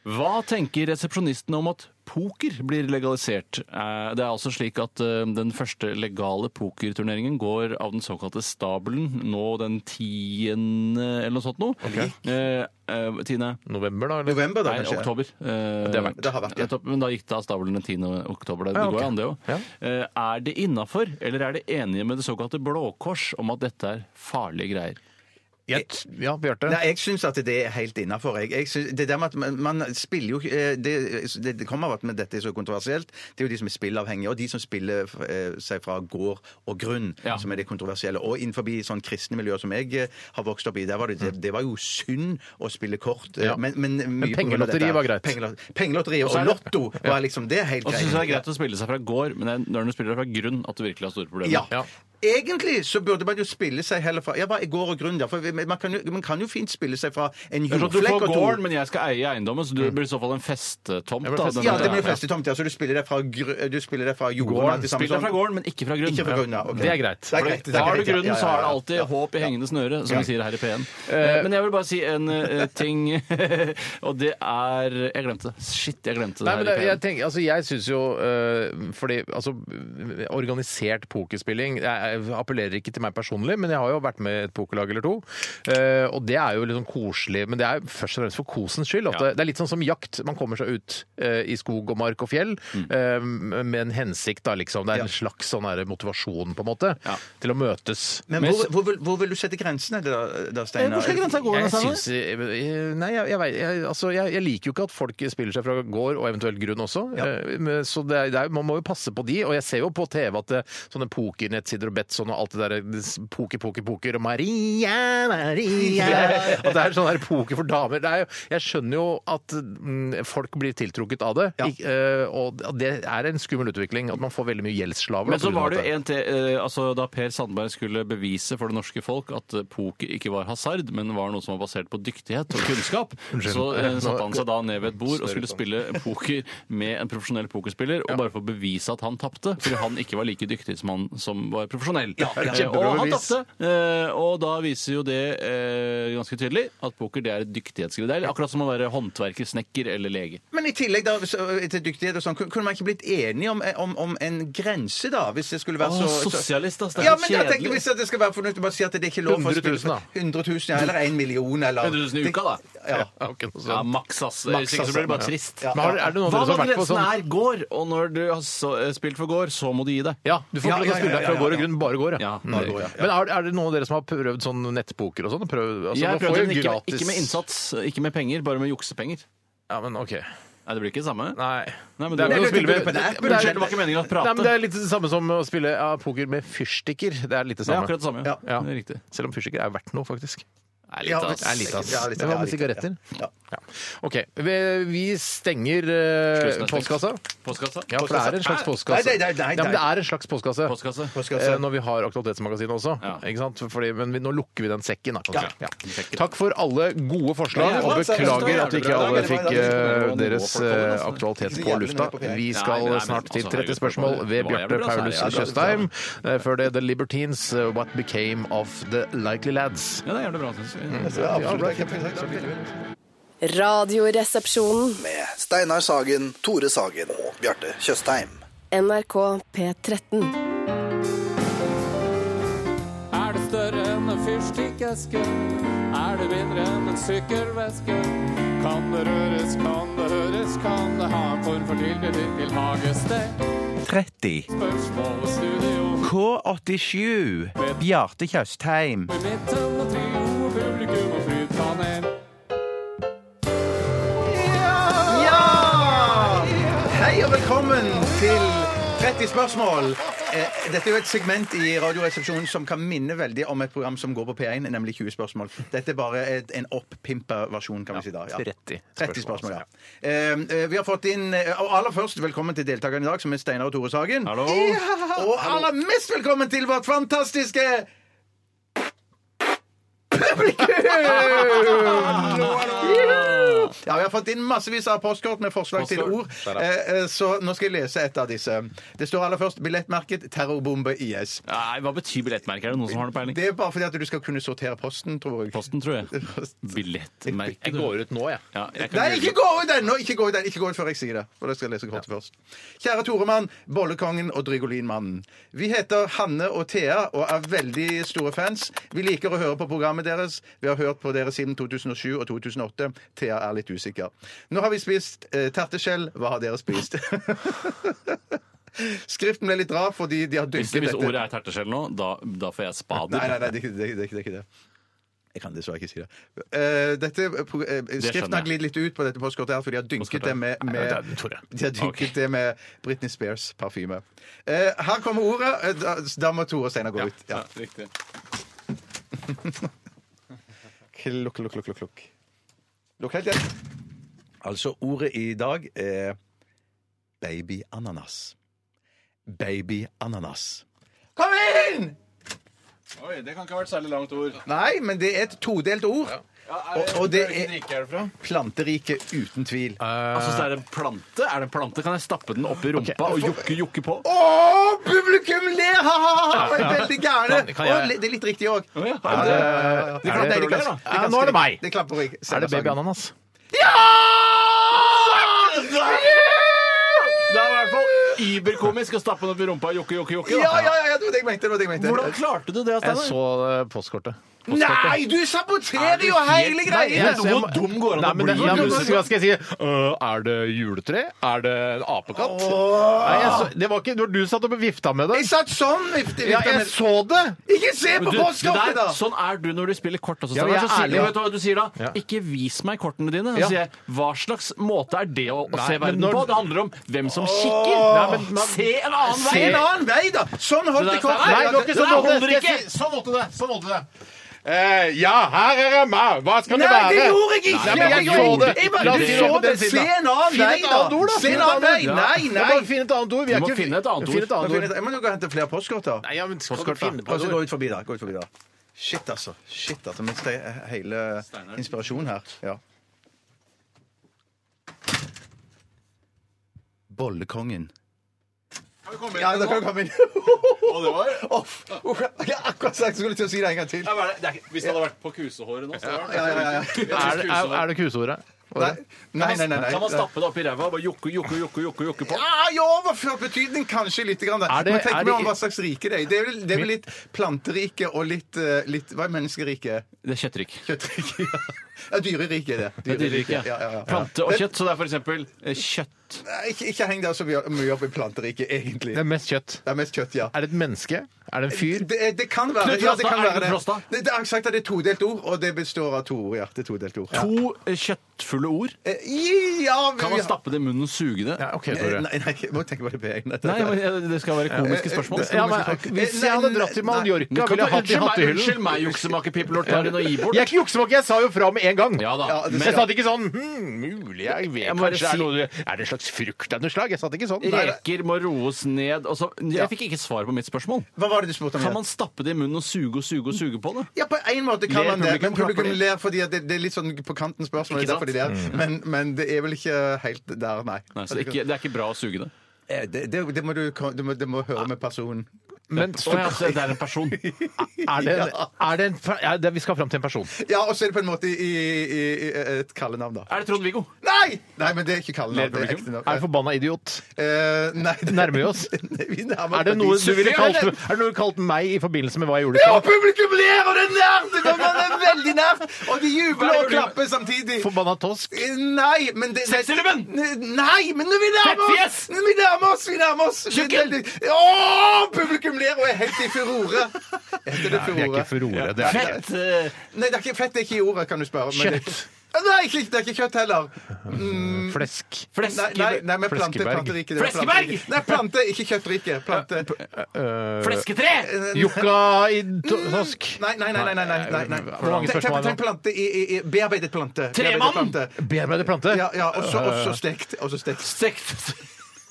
Hva tenker resepsjonistene om at poker blir legalisert? Eh, Det er altså slik at eh, den første legale pokerturneringen går av den såkalte stabelen nå den tiende eller noe sånt noe. Eh, eh, tiende November, da? Eller? November, da, Nei, kanskje? oktober. Eh, Det har vært. Det har vært, ja. Nettopp, Men da gikk det av stabelen den 10. oktober. Det, det Ja, ok. går jo an, det òg. Er det innafor, eller er det enige med det såkalte Blå Kors om at dette er farlige greier? Jeg t- Ja, Bjarte? Nei, jeg syns at det er helt innafor. Jeg, jeg synes- det der med at man, man spiller jo ikke- eh, det, det, det kommer av at men dette er så kontroversielt. Det er jo de som er spillavhengige, og de som spiller eh, seg fra gård og grunn, Ja. som er det kontroversielle. Og innenfor sånn kristne miljøer som jeg eh, har vokst opp i, der var det, det, det var jo synd å spille kort. eh, Ja. Men, men, mye Men på grunn av pengelotteri dette- var greit. pengelot- Pengelotteriet så og er det- lotto var liksom Det er helt Og så syns jeg det er greit. greit å spille seg fra gård, men det er når du spiller deg fra grunn at du virkelig har store problemer. Ja. Ja. Egentlig så burde man jo spille seg heller fra Ja, hva er gård og grunn, da? For man kan, jo, man kan jo fint spille seg fra en Det er sånn at Du jordflekk får og to Mm. gården, men jeg skal eie eiendommen, så du blir i så fall en festetomt. Jeg blir da, festet- den- Ja, det blir festetomt. Ja. Så du spiller deg fra, gr eh, du spiller deg fra jorden? Gården. alt det samme Spill deg som- fra gården, men ikke fra grunn. Ikke fra grunnen, ja. ok. Det er greit. Det er greit. det er Har du greit, ja. grunnen, Ja, ja, så er det ja. alltid håp i hengende snøre, som vi sier her i P1. Eh, Men jeg vil bare si en eh, ting, og det er Jeg glemte det. Shit, jeg glemte det Nei, men det, her i jeg P1. tenker, altså jeg synes jo øh, Fordi altså, organisert pokerspilling jeg, jeg appellerer ikke til meg personlig, men jeg har jo vært med i et pokerlag eller to. eh, og det er jo litt sånn koselig, men det er først og fremst for kosens skyld. At Ja. det, det er litt sånn som jakt. Man kommer seg ut eh, i skog og mark og fjell eh, med en hensikt, da liksom. Det er en slags sånn her motivasjon, på en måte, Ja. til å møtes. Men hvor, hvor, vil, hvor vil du sette grensene da, da Steinar? Hvor Eh, skal grensa gå? Jeg Steinar? syns eh, Nei, jeg, jeg, vet- jeg, altså, jeg, jeg liker jo ikke at folk spiller seg fra gård og eventuelt grunn også. Eh, men- Så det er, det er, man må jo passe på de. Og jeg ser jo på TV at det, sånne pokernettsider og Betson og alt det der det s- Poker, poker, poker og Maria, Maria At det er sånn der poker for damer. Det er, jo- jeg skjønner jo at mm, folk blir tiltrukket av det. Ik- eh, og det er en skummel utvikling at man får veldig mye gjeldsslaver. da, Men så på grunn av var det dette. jo en til, eh, altså Da Per Sandberg skulle bevise for det norske folk at eh, poker ikke var hasard, men var noe som var basert på dyktighet og kunnskap, så eh, satte han seg da ned ved et bord og skulle spille poker med en profesjonell pokerspiller, og bare for å bevise at han tapte, fordi han ikke var like dyktig som han som var profesjonell. Eh, og Kjempebra han bevis. tapte, eh, og da viser jo det eh, ganske tydelig at poker det er et dyktighetsgreie. Det er akkurat som å være håndverker, snekker eller lege. Men i tillegg da, så- til dyktighet og sånn, kun- kunne man ikke blitt enige om, eh, om, om en grense, da? Hvis det skulle være så, Å, så sosialist, ass, det er Ja, så men jeg tenker kjedelig. Hvis det skal være fornuftig, bare si at det er ikke lov for å 100 000 spille da. 100 000, ja, eller 1 million, eller 100 000 i uka, da. Ja. Ja, ok, noe sånt. Ja, maks, ass. Maks, Hvis ikke ass, så blir det ja. bare trist. sånn. Men har, er det noen av Hva dere som har når vært på grensen sånn er går, og når du har så, eh, spilt for går, så må du gi deg? Ja, du får Ja, ikke lov til å ja, spille ja, deg fra ja, gård og ja. grunn, bare gård, ja. Ja, Mm. bare gård, ja, ja. Men er, er det noen av dere som har prøvd sånn nettpoker og sånn? Prøv, altså, jeg man har får prøvd jo den ikke, med- gratis- ikke med innsats, ikke med penger, bare med juksepenger. Ja, men ok. Nei, det blir ikke det samme. Nei. Nei, men Det er du- vel å Nei, spille med- du- Nei, det er- unnskyld, det var ikke meningen å prate. Nei, men Det er litt det samme som å spille ja, poker med fyrstikker. Det er litt det Det er samme. akkurat det samme. Ja. Ja. Det er riktig. Selv om fyrstikker er verdt noe, faktisk. er litt, ass. er litt ass. Ja, litt ass. Det var med Ja, litt ass. sigaretter. Ja. Ja. OK. Vi, vi stenger eh, Slusen er stengt. postkassa. Postkassa? Ja, for det er en slags postkasse. Nei, nei, nei, nei, Ja, men det er en slags postkasse. Postkasse. Postkasse. Eh, Når vi har Aktualitetsmagasinet også. Ja. Ikke sant? Fordi, men vi, nå lukker vi den sekken, da. kan vi si. Ja. Ja. Takk for alle gode forslag, Ja, og det var bra, det beklager var at ikke jævlig bra. alle Det var fikk jævlig bra. eh, Det var deres noe eh, folk, altså. aktualitet Det på var jævlig lufta. nøye på P1. Vi Nei, skal nei, men snart til altså, 30 spørsmål herregud, ved det var Bjarte jævlig bra, Paulus særlig. Tjøstheim. Eh, Før det The Libertines, eh, What Became of The Likely Lads. Ja, det er jævlig bra, synes jeg. Ja, absolutt. Det er kjempefint. Det er veldig fint. Radioresepsjonen. Med Steinar Sagen, Tore Sagen og Bjarte Tjøstheim. NRK P13. Er det større enn en fyrstikkeske? Er det mindre enn en sykkelveske? Kan det røres, kan det høres, kan det ha en form for tilknytning til hagested? 30. Spørsmål og studio K87. Bjarte Tjøstheim. i midten og trio og publikum og flytpanel. Ja! Hei og velkommen til 30 spørsmål. Eh, Dette er jo et segment i Radioresepsjonen som kan minne veldig om et program som går på P1, nemlig 20 spørsmål. Dette er bare et, en opppimpa versjon, kan vi si da. Ja. 30 30 spørsmål, ja. Eh, eh, vi har fått inn eh, Og aller først, velkommen til deltakerne i dag, som er Steinar og Tore Sagen. Hallo. Ja, og aller mest velkommen til vårt fantastiske Juhu! Ja, Vi har fått inn massevis av postkort med forslag til ord. Eh, eh, Så nå skal jeg lese et av disse. Det står aller først billettmerket 'Terrorbombe IS'. Nei, hva betyr billettmerke? Er det noen som har noe peiling? Det er bare fordi at du skal kunne sortere posten, tror jeg. Posten, tror jeg. Billettmerke. Jeg går ut nå, jeg. Ja, jeg kan Nei, google. ikke gå ut ennå! Ikke gå ut ennå, ikke gå ut før jeg sier det. For da skal jeg lese kortet først. Kjære Toremann, Bollekongen og Drygolinmannen. Vi heter Hanne og Thea og er veldig store fans. Vi liker å høre på programmet deres. Vi har hørt på dere siden 2007 og 2008. Thea er litt usikker. Nå har vi spist eh, terteskjell. Hva har dere spist? Skriften ble litt rar fordi de har Hvis, dynket hvis dette. ordet er terteskjell nå, da, da får jeg spader. Nei, nei, nei, det er ikke det. Er, ikke- det er ikke det. Jeg kan dessverre ikke si det. Eh, dette, eh, pro- eh, skriften har jeg. glidd litt ut på dette postkortet, her, for de har dynket Postkortet. det med, Nei, med, det er- Tore. de har dynket Ok. det med Britney Spears parfyme. Eh, her kommer ordet. Eh, Da, da må Tore og Steinar gå ut. Ja. riktig. Klukk, klukk, klukk, klukk, klukk. Lukk helt igjen. Altså, ordet i dag er babyananas. Babyananas. Kom inn! Oi, det kan ikke ha vært særlig langt ord. Nei, men det er et todelt ord. Og, og det er drikke herfra? planterike uten tvil. Altså, så er det en plante? Er det en plante? Kan jeg stappe den opp i rumpa og jokke, jokke på? Å, publikum ler! Ha, ha, ha, ha, er veldig gærne. Kan- kan jeg- Eh, Å, le- det er litt riktig òg. Å, ja. De klapper- det- nei, de tror du det, klapper- da? de Ja, klapper- nå er det meg. De klapper ikke. Er det baby ananas? Det er i hvert fall iberkomisk å stappe den opp i rumpa og jokke, jokke, jokke. Ja, da. ja, ja, det var det jeg mente. Det var det jeg mente. Hvordan klarte du det, Jeg Steinar? så eh, postkortet. Nei, du saboterer jo hele greia! Nei, hvor dum går det an å Nei, men det- bli? ja, men så Skal jeg si øh, Er det juletre? Er det en apekatt? Nei, jeg så, det var ikke det var Du satt opp og vifta med det. Jeg satt sånn. vifte- Ja, vifte jeg med- så det! Ikke se på Du, det postkortet, der, da! sånn er du når du spiller kort. Også, Ja, Steinar. jeg er så sier, ærlig, ja. vet du hva du sier da? Ja. Ikke vis meg kortene dine. Ja. Så sier jeg, hva slags måte er det å, å Nei, se men verden når- på? Det handler om hvem som kikker. Nei, men man- se en annen Se vei! en annen vei, da! Sånn holdt det Det der- kortet. Nei, det var ikke sånn Nei, måte. Skal holder jeg ikke. si- Sånn måtte det. Sånn måtte det. Eh, ja, her er Emma! Hva skal det Nei, være? det gjorde jeg ikke! Nei, men jeg så det. Jeg bare- La oss du si så på den det. siden, Se da. en annen Finn vei, et da. annet ord, da. Se en annen vei. Nei, Ja. nei. Bare Finn et annet ord. Vi Du er må ikke- finne et annet ord. Finn et Nå annet finner ord. Jeg jeg må jo gå og hente flere postkort, da. Nei, ja, men skal du Postkort, da. finne på Og et så ord? gå ut forbi, da. Gå ut forbi, da. Shit, altså. Shit, altså. Mens det er hele inspirasjonen her. Ja. Bollekongen. Ja, da kan du komme inn. Uff, uff, Jeg har akkurat sagt jeg skulle til å si det en gang til. Hvis det hadde vært på kusehåret nå, så hadde Ja, ja, ja. Er det- er- er det kuseordet? Nei, nei, nei. nei, Kan man nei. stappe det opp i ræva og bare jokke, jokke, jokke, jokke, jokke på? Ja, I overført betydning kanskje litt. Grann, da. Er det- Men tenk er meg det- om hva slags rike det er. Det er vel, det er vel litt planterike og litt, eh, litt Hva er menneskerike? Det er kjøttrik. Kjøttrike. Ja. Ja, dyreriket er det. Dyreriket. Ja, ja, ja. Plante og kjøtt. Så det er for eksempel eh, kjøtt. Nei, Ikke, ikke heng deg så mye opp i planteriket, egentlig. Det er mest kjøtt. Det er mest kjøtt, ja. Er det et menneske? Er det en fyr? Det, eh, det kan være Knut ja, det. Rostad, Kan er det være Knut Rostad? det. Det, det er sagt at det er todelt ord, og det består av to ord. Ja. Det er todelt ord. Ja. To eh, kjøttfulle ord. Eh, ja, men, Kan man ja. stappe det i munnen og suge det? Ja, OK, Eh, Tore. Nei, nei, jeg må tenke på det pene. Nei, men det skal være komiske spørsmål. det skal Ja, man ikke ta. men, hvis jeg Eh, nei, hadde nei, dratt til nei. Mallorca, Kan du- ville jeg hatt det i unnskyld meg, hattehyllen. Unnskyld meg, juksemakerpipelort. Tar hun og gir bort? Jeg juksemake, jeg sa jo fra med en gang. Ja da. Ja, det men skal- jeg satt ikke sånn hm, mulig jeg vet Jeg må bare kanskje det si- er, noe, er det en slags frukt av noe slag? Jeg satt ikke sånn. Nei, det- Reker må roes ned. og så- jeg fikk ikke svar på mitt spørsmål. Hva var det du spurte om? Kan igjen? man stappe det i munnen og suge og suge og suge på det? Ja, på en måte kan Ler man det, publikum men publikum klapper de? ler fordi at det, det er litt sånn på kanten spørsmål. Ikke Det er derfor de ler. Mm. Men, men det er vel ikke helt der, nei. Nei, så ikke, det er ikke bra å suge det. Eh, det, det, det, må du, ko- du, må, du må Ah. høre med personen. Men Å, ja, altså, så det er en person. er det, en- er det en er det, Vi skal fram til en person. Ja, og så er det på en måte i, i, i et kallenavn, da. Er det Trond-Viggo? Nei! Nei, men det er ikke kallenavn. Det er ekte Er det navn. forbanna idiot? Eh, nei, det- Nærmer vi oss? Nei, vi nærmer Er det oss noe ikke. du ville kalt, Ja, er det- det noe du kalt meg i forbindelse med hva jeg gjorde? i Ja, stad? publikum ler, og det er nært! Det kommer- det er veldig nært! Og de jubler og klapper samtidig. Forbanna tosk? Eh, Nei, men det, Sexylubben! Nei, men vi nærmer oss! Fettfjes! Vi nærmer oss! vi nærmer oss Det er Tjukken! veldig- Åh, Publikum ler og er helt i furore. Heter det Nei, vi er ikke furore? furore. Det er det ikke. Fett! eh, Nei, det er ikke, fett er ikke i ordet, kan du spørre. men det- Kjøtt. Nei, ikke, det er ikke kjøtt heller. um, Flesk. Nei, nei, nei men plante, Fleskeberg. planterike. det er Fleskeberg! planterike. Nei, plante, ikke kjøttrike. Plante. Flesketre! Jokka i to- tosk? Nei, nei, nei. nei, nei, nei, nei, nei. Hvor mange Tenk- spørsmål er det nå? Tenk, tenk plante i, i, i bearbeidet plante. Bearbeidet Tremann! plante. Bearbeidet plante? Ja, ja, og så- og så stekt. Og så stekt. Stekt. Eh,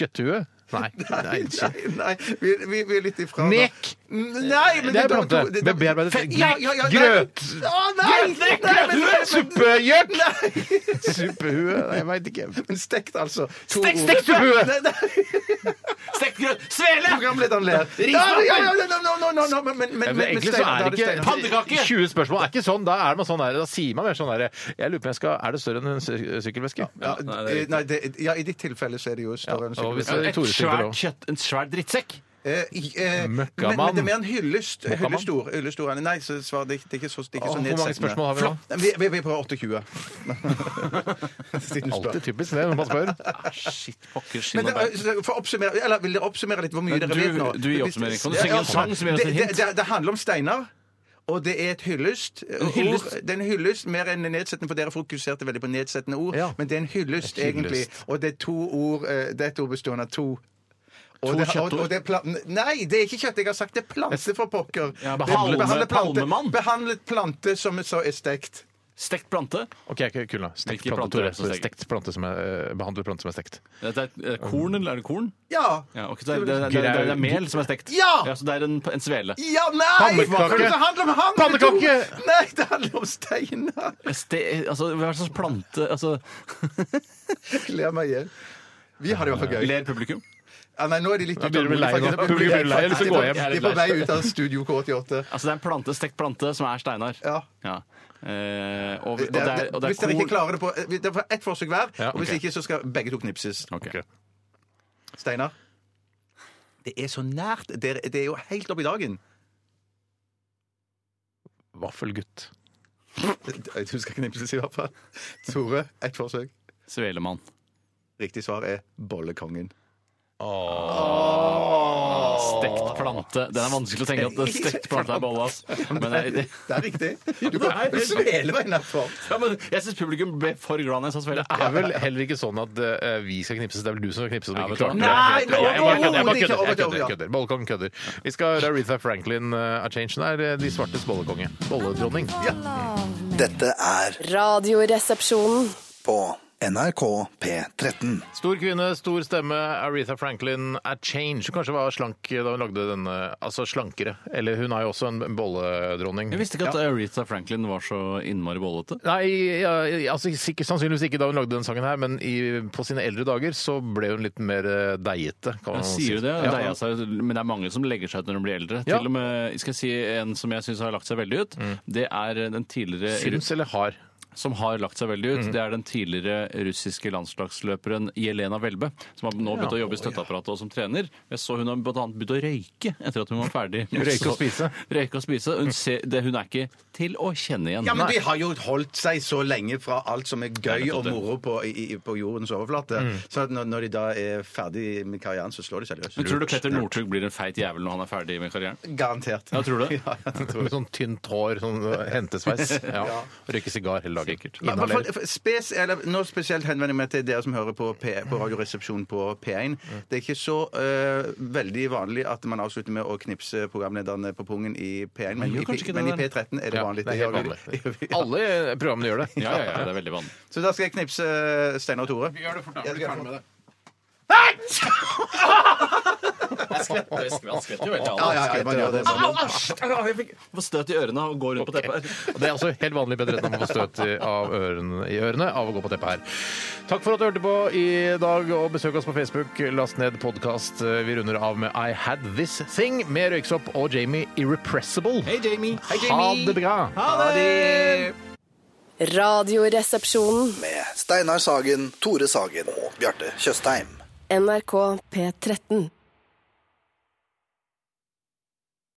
Kjøtthue? Nei. Nei, nei, nei. Vi, vi, vi er litt ifra nå. Nek. Nei, men Det er var plante. to- Eh, det- Be- bearbeidet Fe- nek. ja, ja, ja, nei. Grøt. Å, nei! Grøtnek, Nei, men- grøthue, men- Suppegjøk! Nei, Suppehue? Nei, Jeg veit ikke. men stekt, altså. To Stekt- ord. stekt hue! Nei, nei, Stekt grøt. Svele! Programlederen ler. Ja, ja, ja, no, no, no, no, no, men, men, men, Men men egentlig så Steinar, er da det ikke Steinar. Paddekake! 20 spørsmål er ikke sånn. Da er man sånn der, da sier man mer sånn der Jeg lurer på om jeg skal Er det større enn en sy- sykkelveske? ja, Nei, det er nei, det, ja, i ditt tilfelle så er det jo større enn og hvis sykkelveske. det- Et Tore Stygge svært også. kjøtt, en svær drittsekk. Eh, i- eh, men, Møkkamann. men det er mer en hyllest. Møkkamann? Hyllestor. hyllestor. Nei, så svar, det, er ikke- det er ikke så, Åh, det er ikke så Hvor mange nedsettende. spørsmål har vi nå? Nei, Vi, vi, vi er på 28. Siden du spør. Alltid typisk det når man spør. Shit, pokker, skinn Men og det, bein. så for å oppsummere, eller Vil dere oppsummere litt hvor mye Men dere du- vet nå? du gir Hvis- oppsummering. Kan du Ja, altså, synge en sang som gir oss et det- hint? Det, det, det handler om Steinar. Og det er et hyllest. En hyllest? Det er en hyllest, Mer enn en nedsettende, for dere fokuserte veldig på nedsettende ord. Ja. Men det er en hyllest, Et hyllest. egentlig. Og det er to ord eh, Det er et ord bestående av to. Og To det, og, kjøttord? og det er pla- nei, det er ikke kjøtt. Jeg har sagt det er plante, for pokker. Ja, Det- palme- behandle palmemann. plante, behandlet plante som så er stekt. Stekt plante. Ok, ikke kul, da. Stekt plante, Hvilke planter er Tore. det som steker? Stekt plante som er, eh, behandlet plante som er stekt. Dette er, er det korn, eller er det korn? Ja! Ja, ok, så det, er- det, er- det, er- det, er- det er mel som er stekt. Ja! så det er en, en svele. Ja, nei! Pannekake. For Det handler om han! det er to- Pannekake. Nei, det handler om Steinar. Ste, altså, hva slags plante altså, Ler meg ihjel. Vi har det i hvert fall gøy. Ler publikum? Ja, nei, nå er de litt Da begynner vi lei utålmodige, nå. faktisk. Publikum blir lei, eller så går jeg hjem. De er på vei ut av Studio K88. Altså, det er en plante, stekt plante som er Steinar. Ja. Eh, og, og Det det er, og er, det er hvis dere ikke korn- klarer det på eh, Det er ett forsøk hver. Ja, Og hvis ok. ikke, så skal begge to knipses. Ok. Steinar? Det er så nært. Det er, det er jo helt oppi dagen. Vaffelgutt. Du skal knipses, i hvert fall. Tore, ett forsøk. Svelemann. Riktig svar er Bollekongen. Stekt plante. Den er vanskelig å tenke at det er stekt plante er bolle, ass. Men det, det, Det er riktig. Du kan du sveler meg nedfor. ja, men jeg syns publikum ble for glad når jeg sa svele. Det er vel heller ikke sånn at eh, vi skal knipses. Det er vel du som skal knipses. og Ja, ikke vet du klarte det. hva? Jeg- Nei, jeg bare kødder, jeg bare overhodet kødder, jeg ikke, overhodet, kødder, jeg ja. kødder. Bollekongen kødder. Vi skal høre Aretha Franklin eh, er changen her. eh, De svartes bollekonge. Bolledronning. Dette er Radioresepsjonen. på NRK P13. Stor kvinne, stor stemme. Aretha Franklin er change. Hun kanskje var slank da hun lagde denne, altså slankere. Eller hun er jo også en bolledronning. Jeg visste ikke at Aretha Franklin var så innmari bollete. Nei, ja, altså, sikk- sannsynligvis ikke da hun lagde den sangen her, men i, på sine eldre dager så ble hun litt mer eh, deigete. kan man Jeg si. sier jo det, Ja. deia seg, men det er mange som legger seg ut når de blir eldre. Ja. Mm. Til og med, skal jeg si En som jeg syns har lagt seg veldig ut, det er den tidligere Syns eller har? som har lagt seg veldig ut, Mm. det er den tidligere russiske landslagsløperen Jelena Welbe, som har nå begynt å jobbe i støtteapparatet og som trener. Jeg så hun har blant annet begynt å røyke etter at hun var ferdig. Røyke og spise. Røyke og spise. Hun, ser, det, hun er ikke til å kjenne igjen. Ja, men Nei. de har jo holdt seg så lenge fra alt som er gøy og moro på, i, i- på jordens overflate. Mm. Så at når, når de da er ferdig med karrieren, så slår de seg løs. Men tror du Petter Northug blir en feit jævel når han er ferdig med karrieren? Garantert. Ja, tror du det? Ja, jeg tror Med sånn tynt hår, sånn eh, hentesveis. Ja. Røyke sigar hele dagen. Sikkert. Ja, men Inhaler. for- for spes, eller, nå spesielt henvender jeg meg til dere som hører på, P, på Radioresepsjonen på P1. Det er ikke så eh, veldig vanlig at man avslutter med å knipse programlederne på pungen i P1, men, gjør i, P- kanskje ikke det men i der. P13 er det Ja, vanlig. det er helt gjør vi- gjør vi- vanlig. Alle programmene gjør det. Ja, ja, ja, det er veldig vanlig. Så da skal jeg knipse eh, Steinar og Tore. Gjør det fort, Jeg skal- Han skvetter jo veldig Ja, ja, ja, man gjør Ah, det. Få støt i ørene og gå rundt på teppet. Og Det er altså helt vanlig bedre enn å få støt i, av ørene, i ørene av å gå på teppet her. Takk for at du hørte på i dag, og besøk oss på Facebook. Last ned podkast. Vi runder av med I Had This Thing med Røyksopp og Jamie Irrepressible. Hei, Jamie. Ha det bra! Radioresepsjonen. Med Steinar Sagen, Tore Sagen og Bjarte Tjøstheim. NRK P13.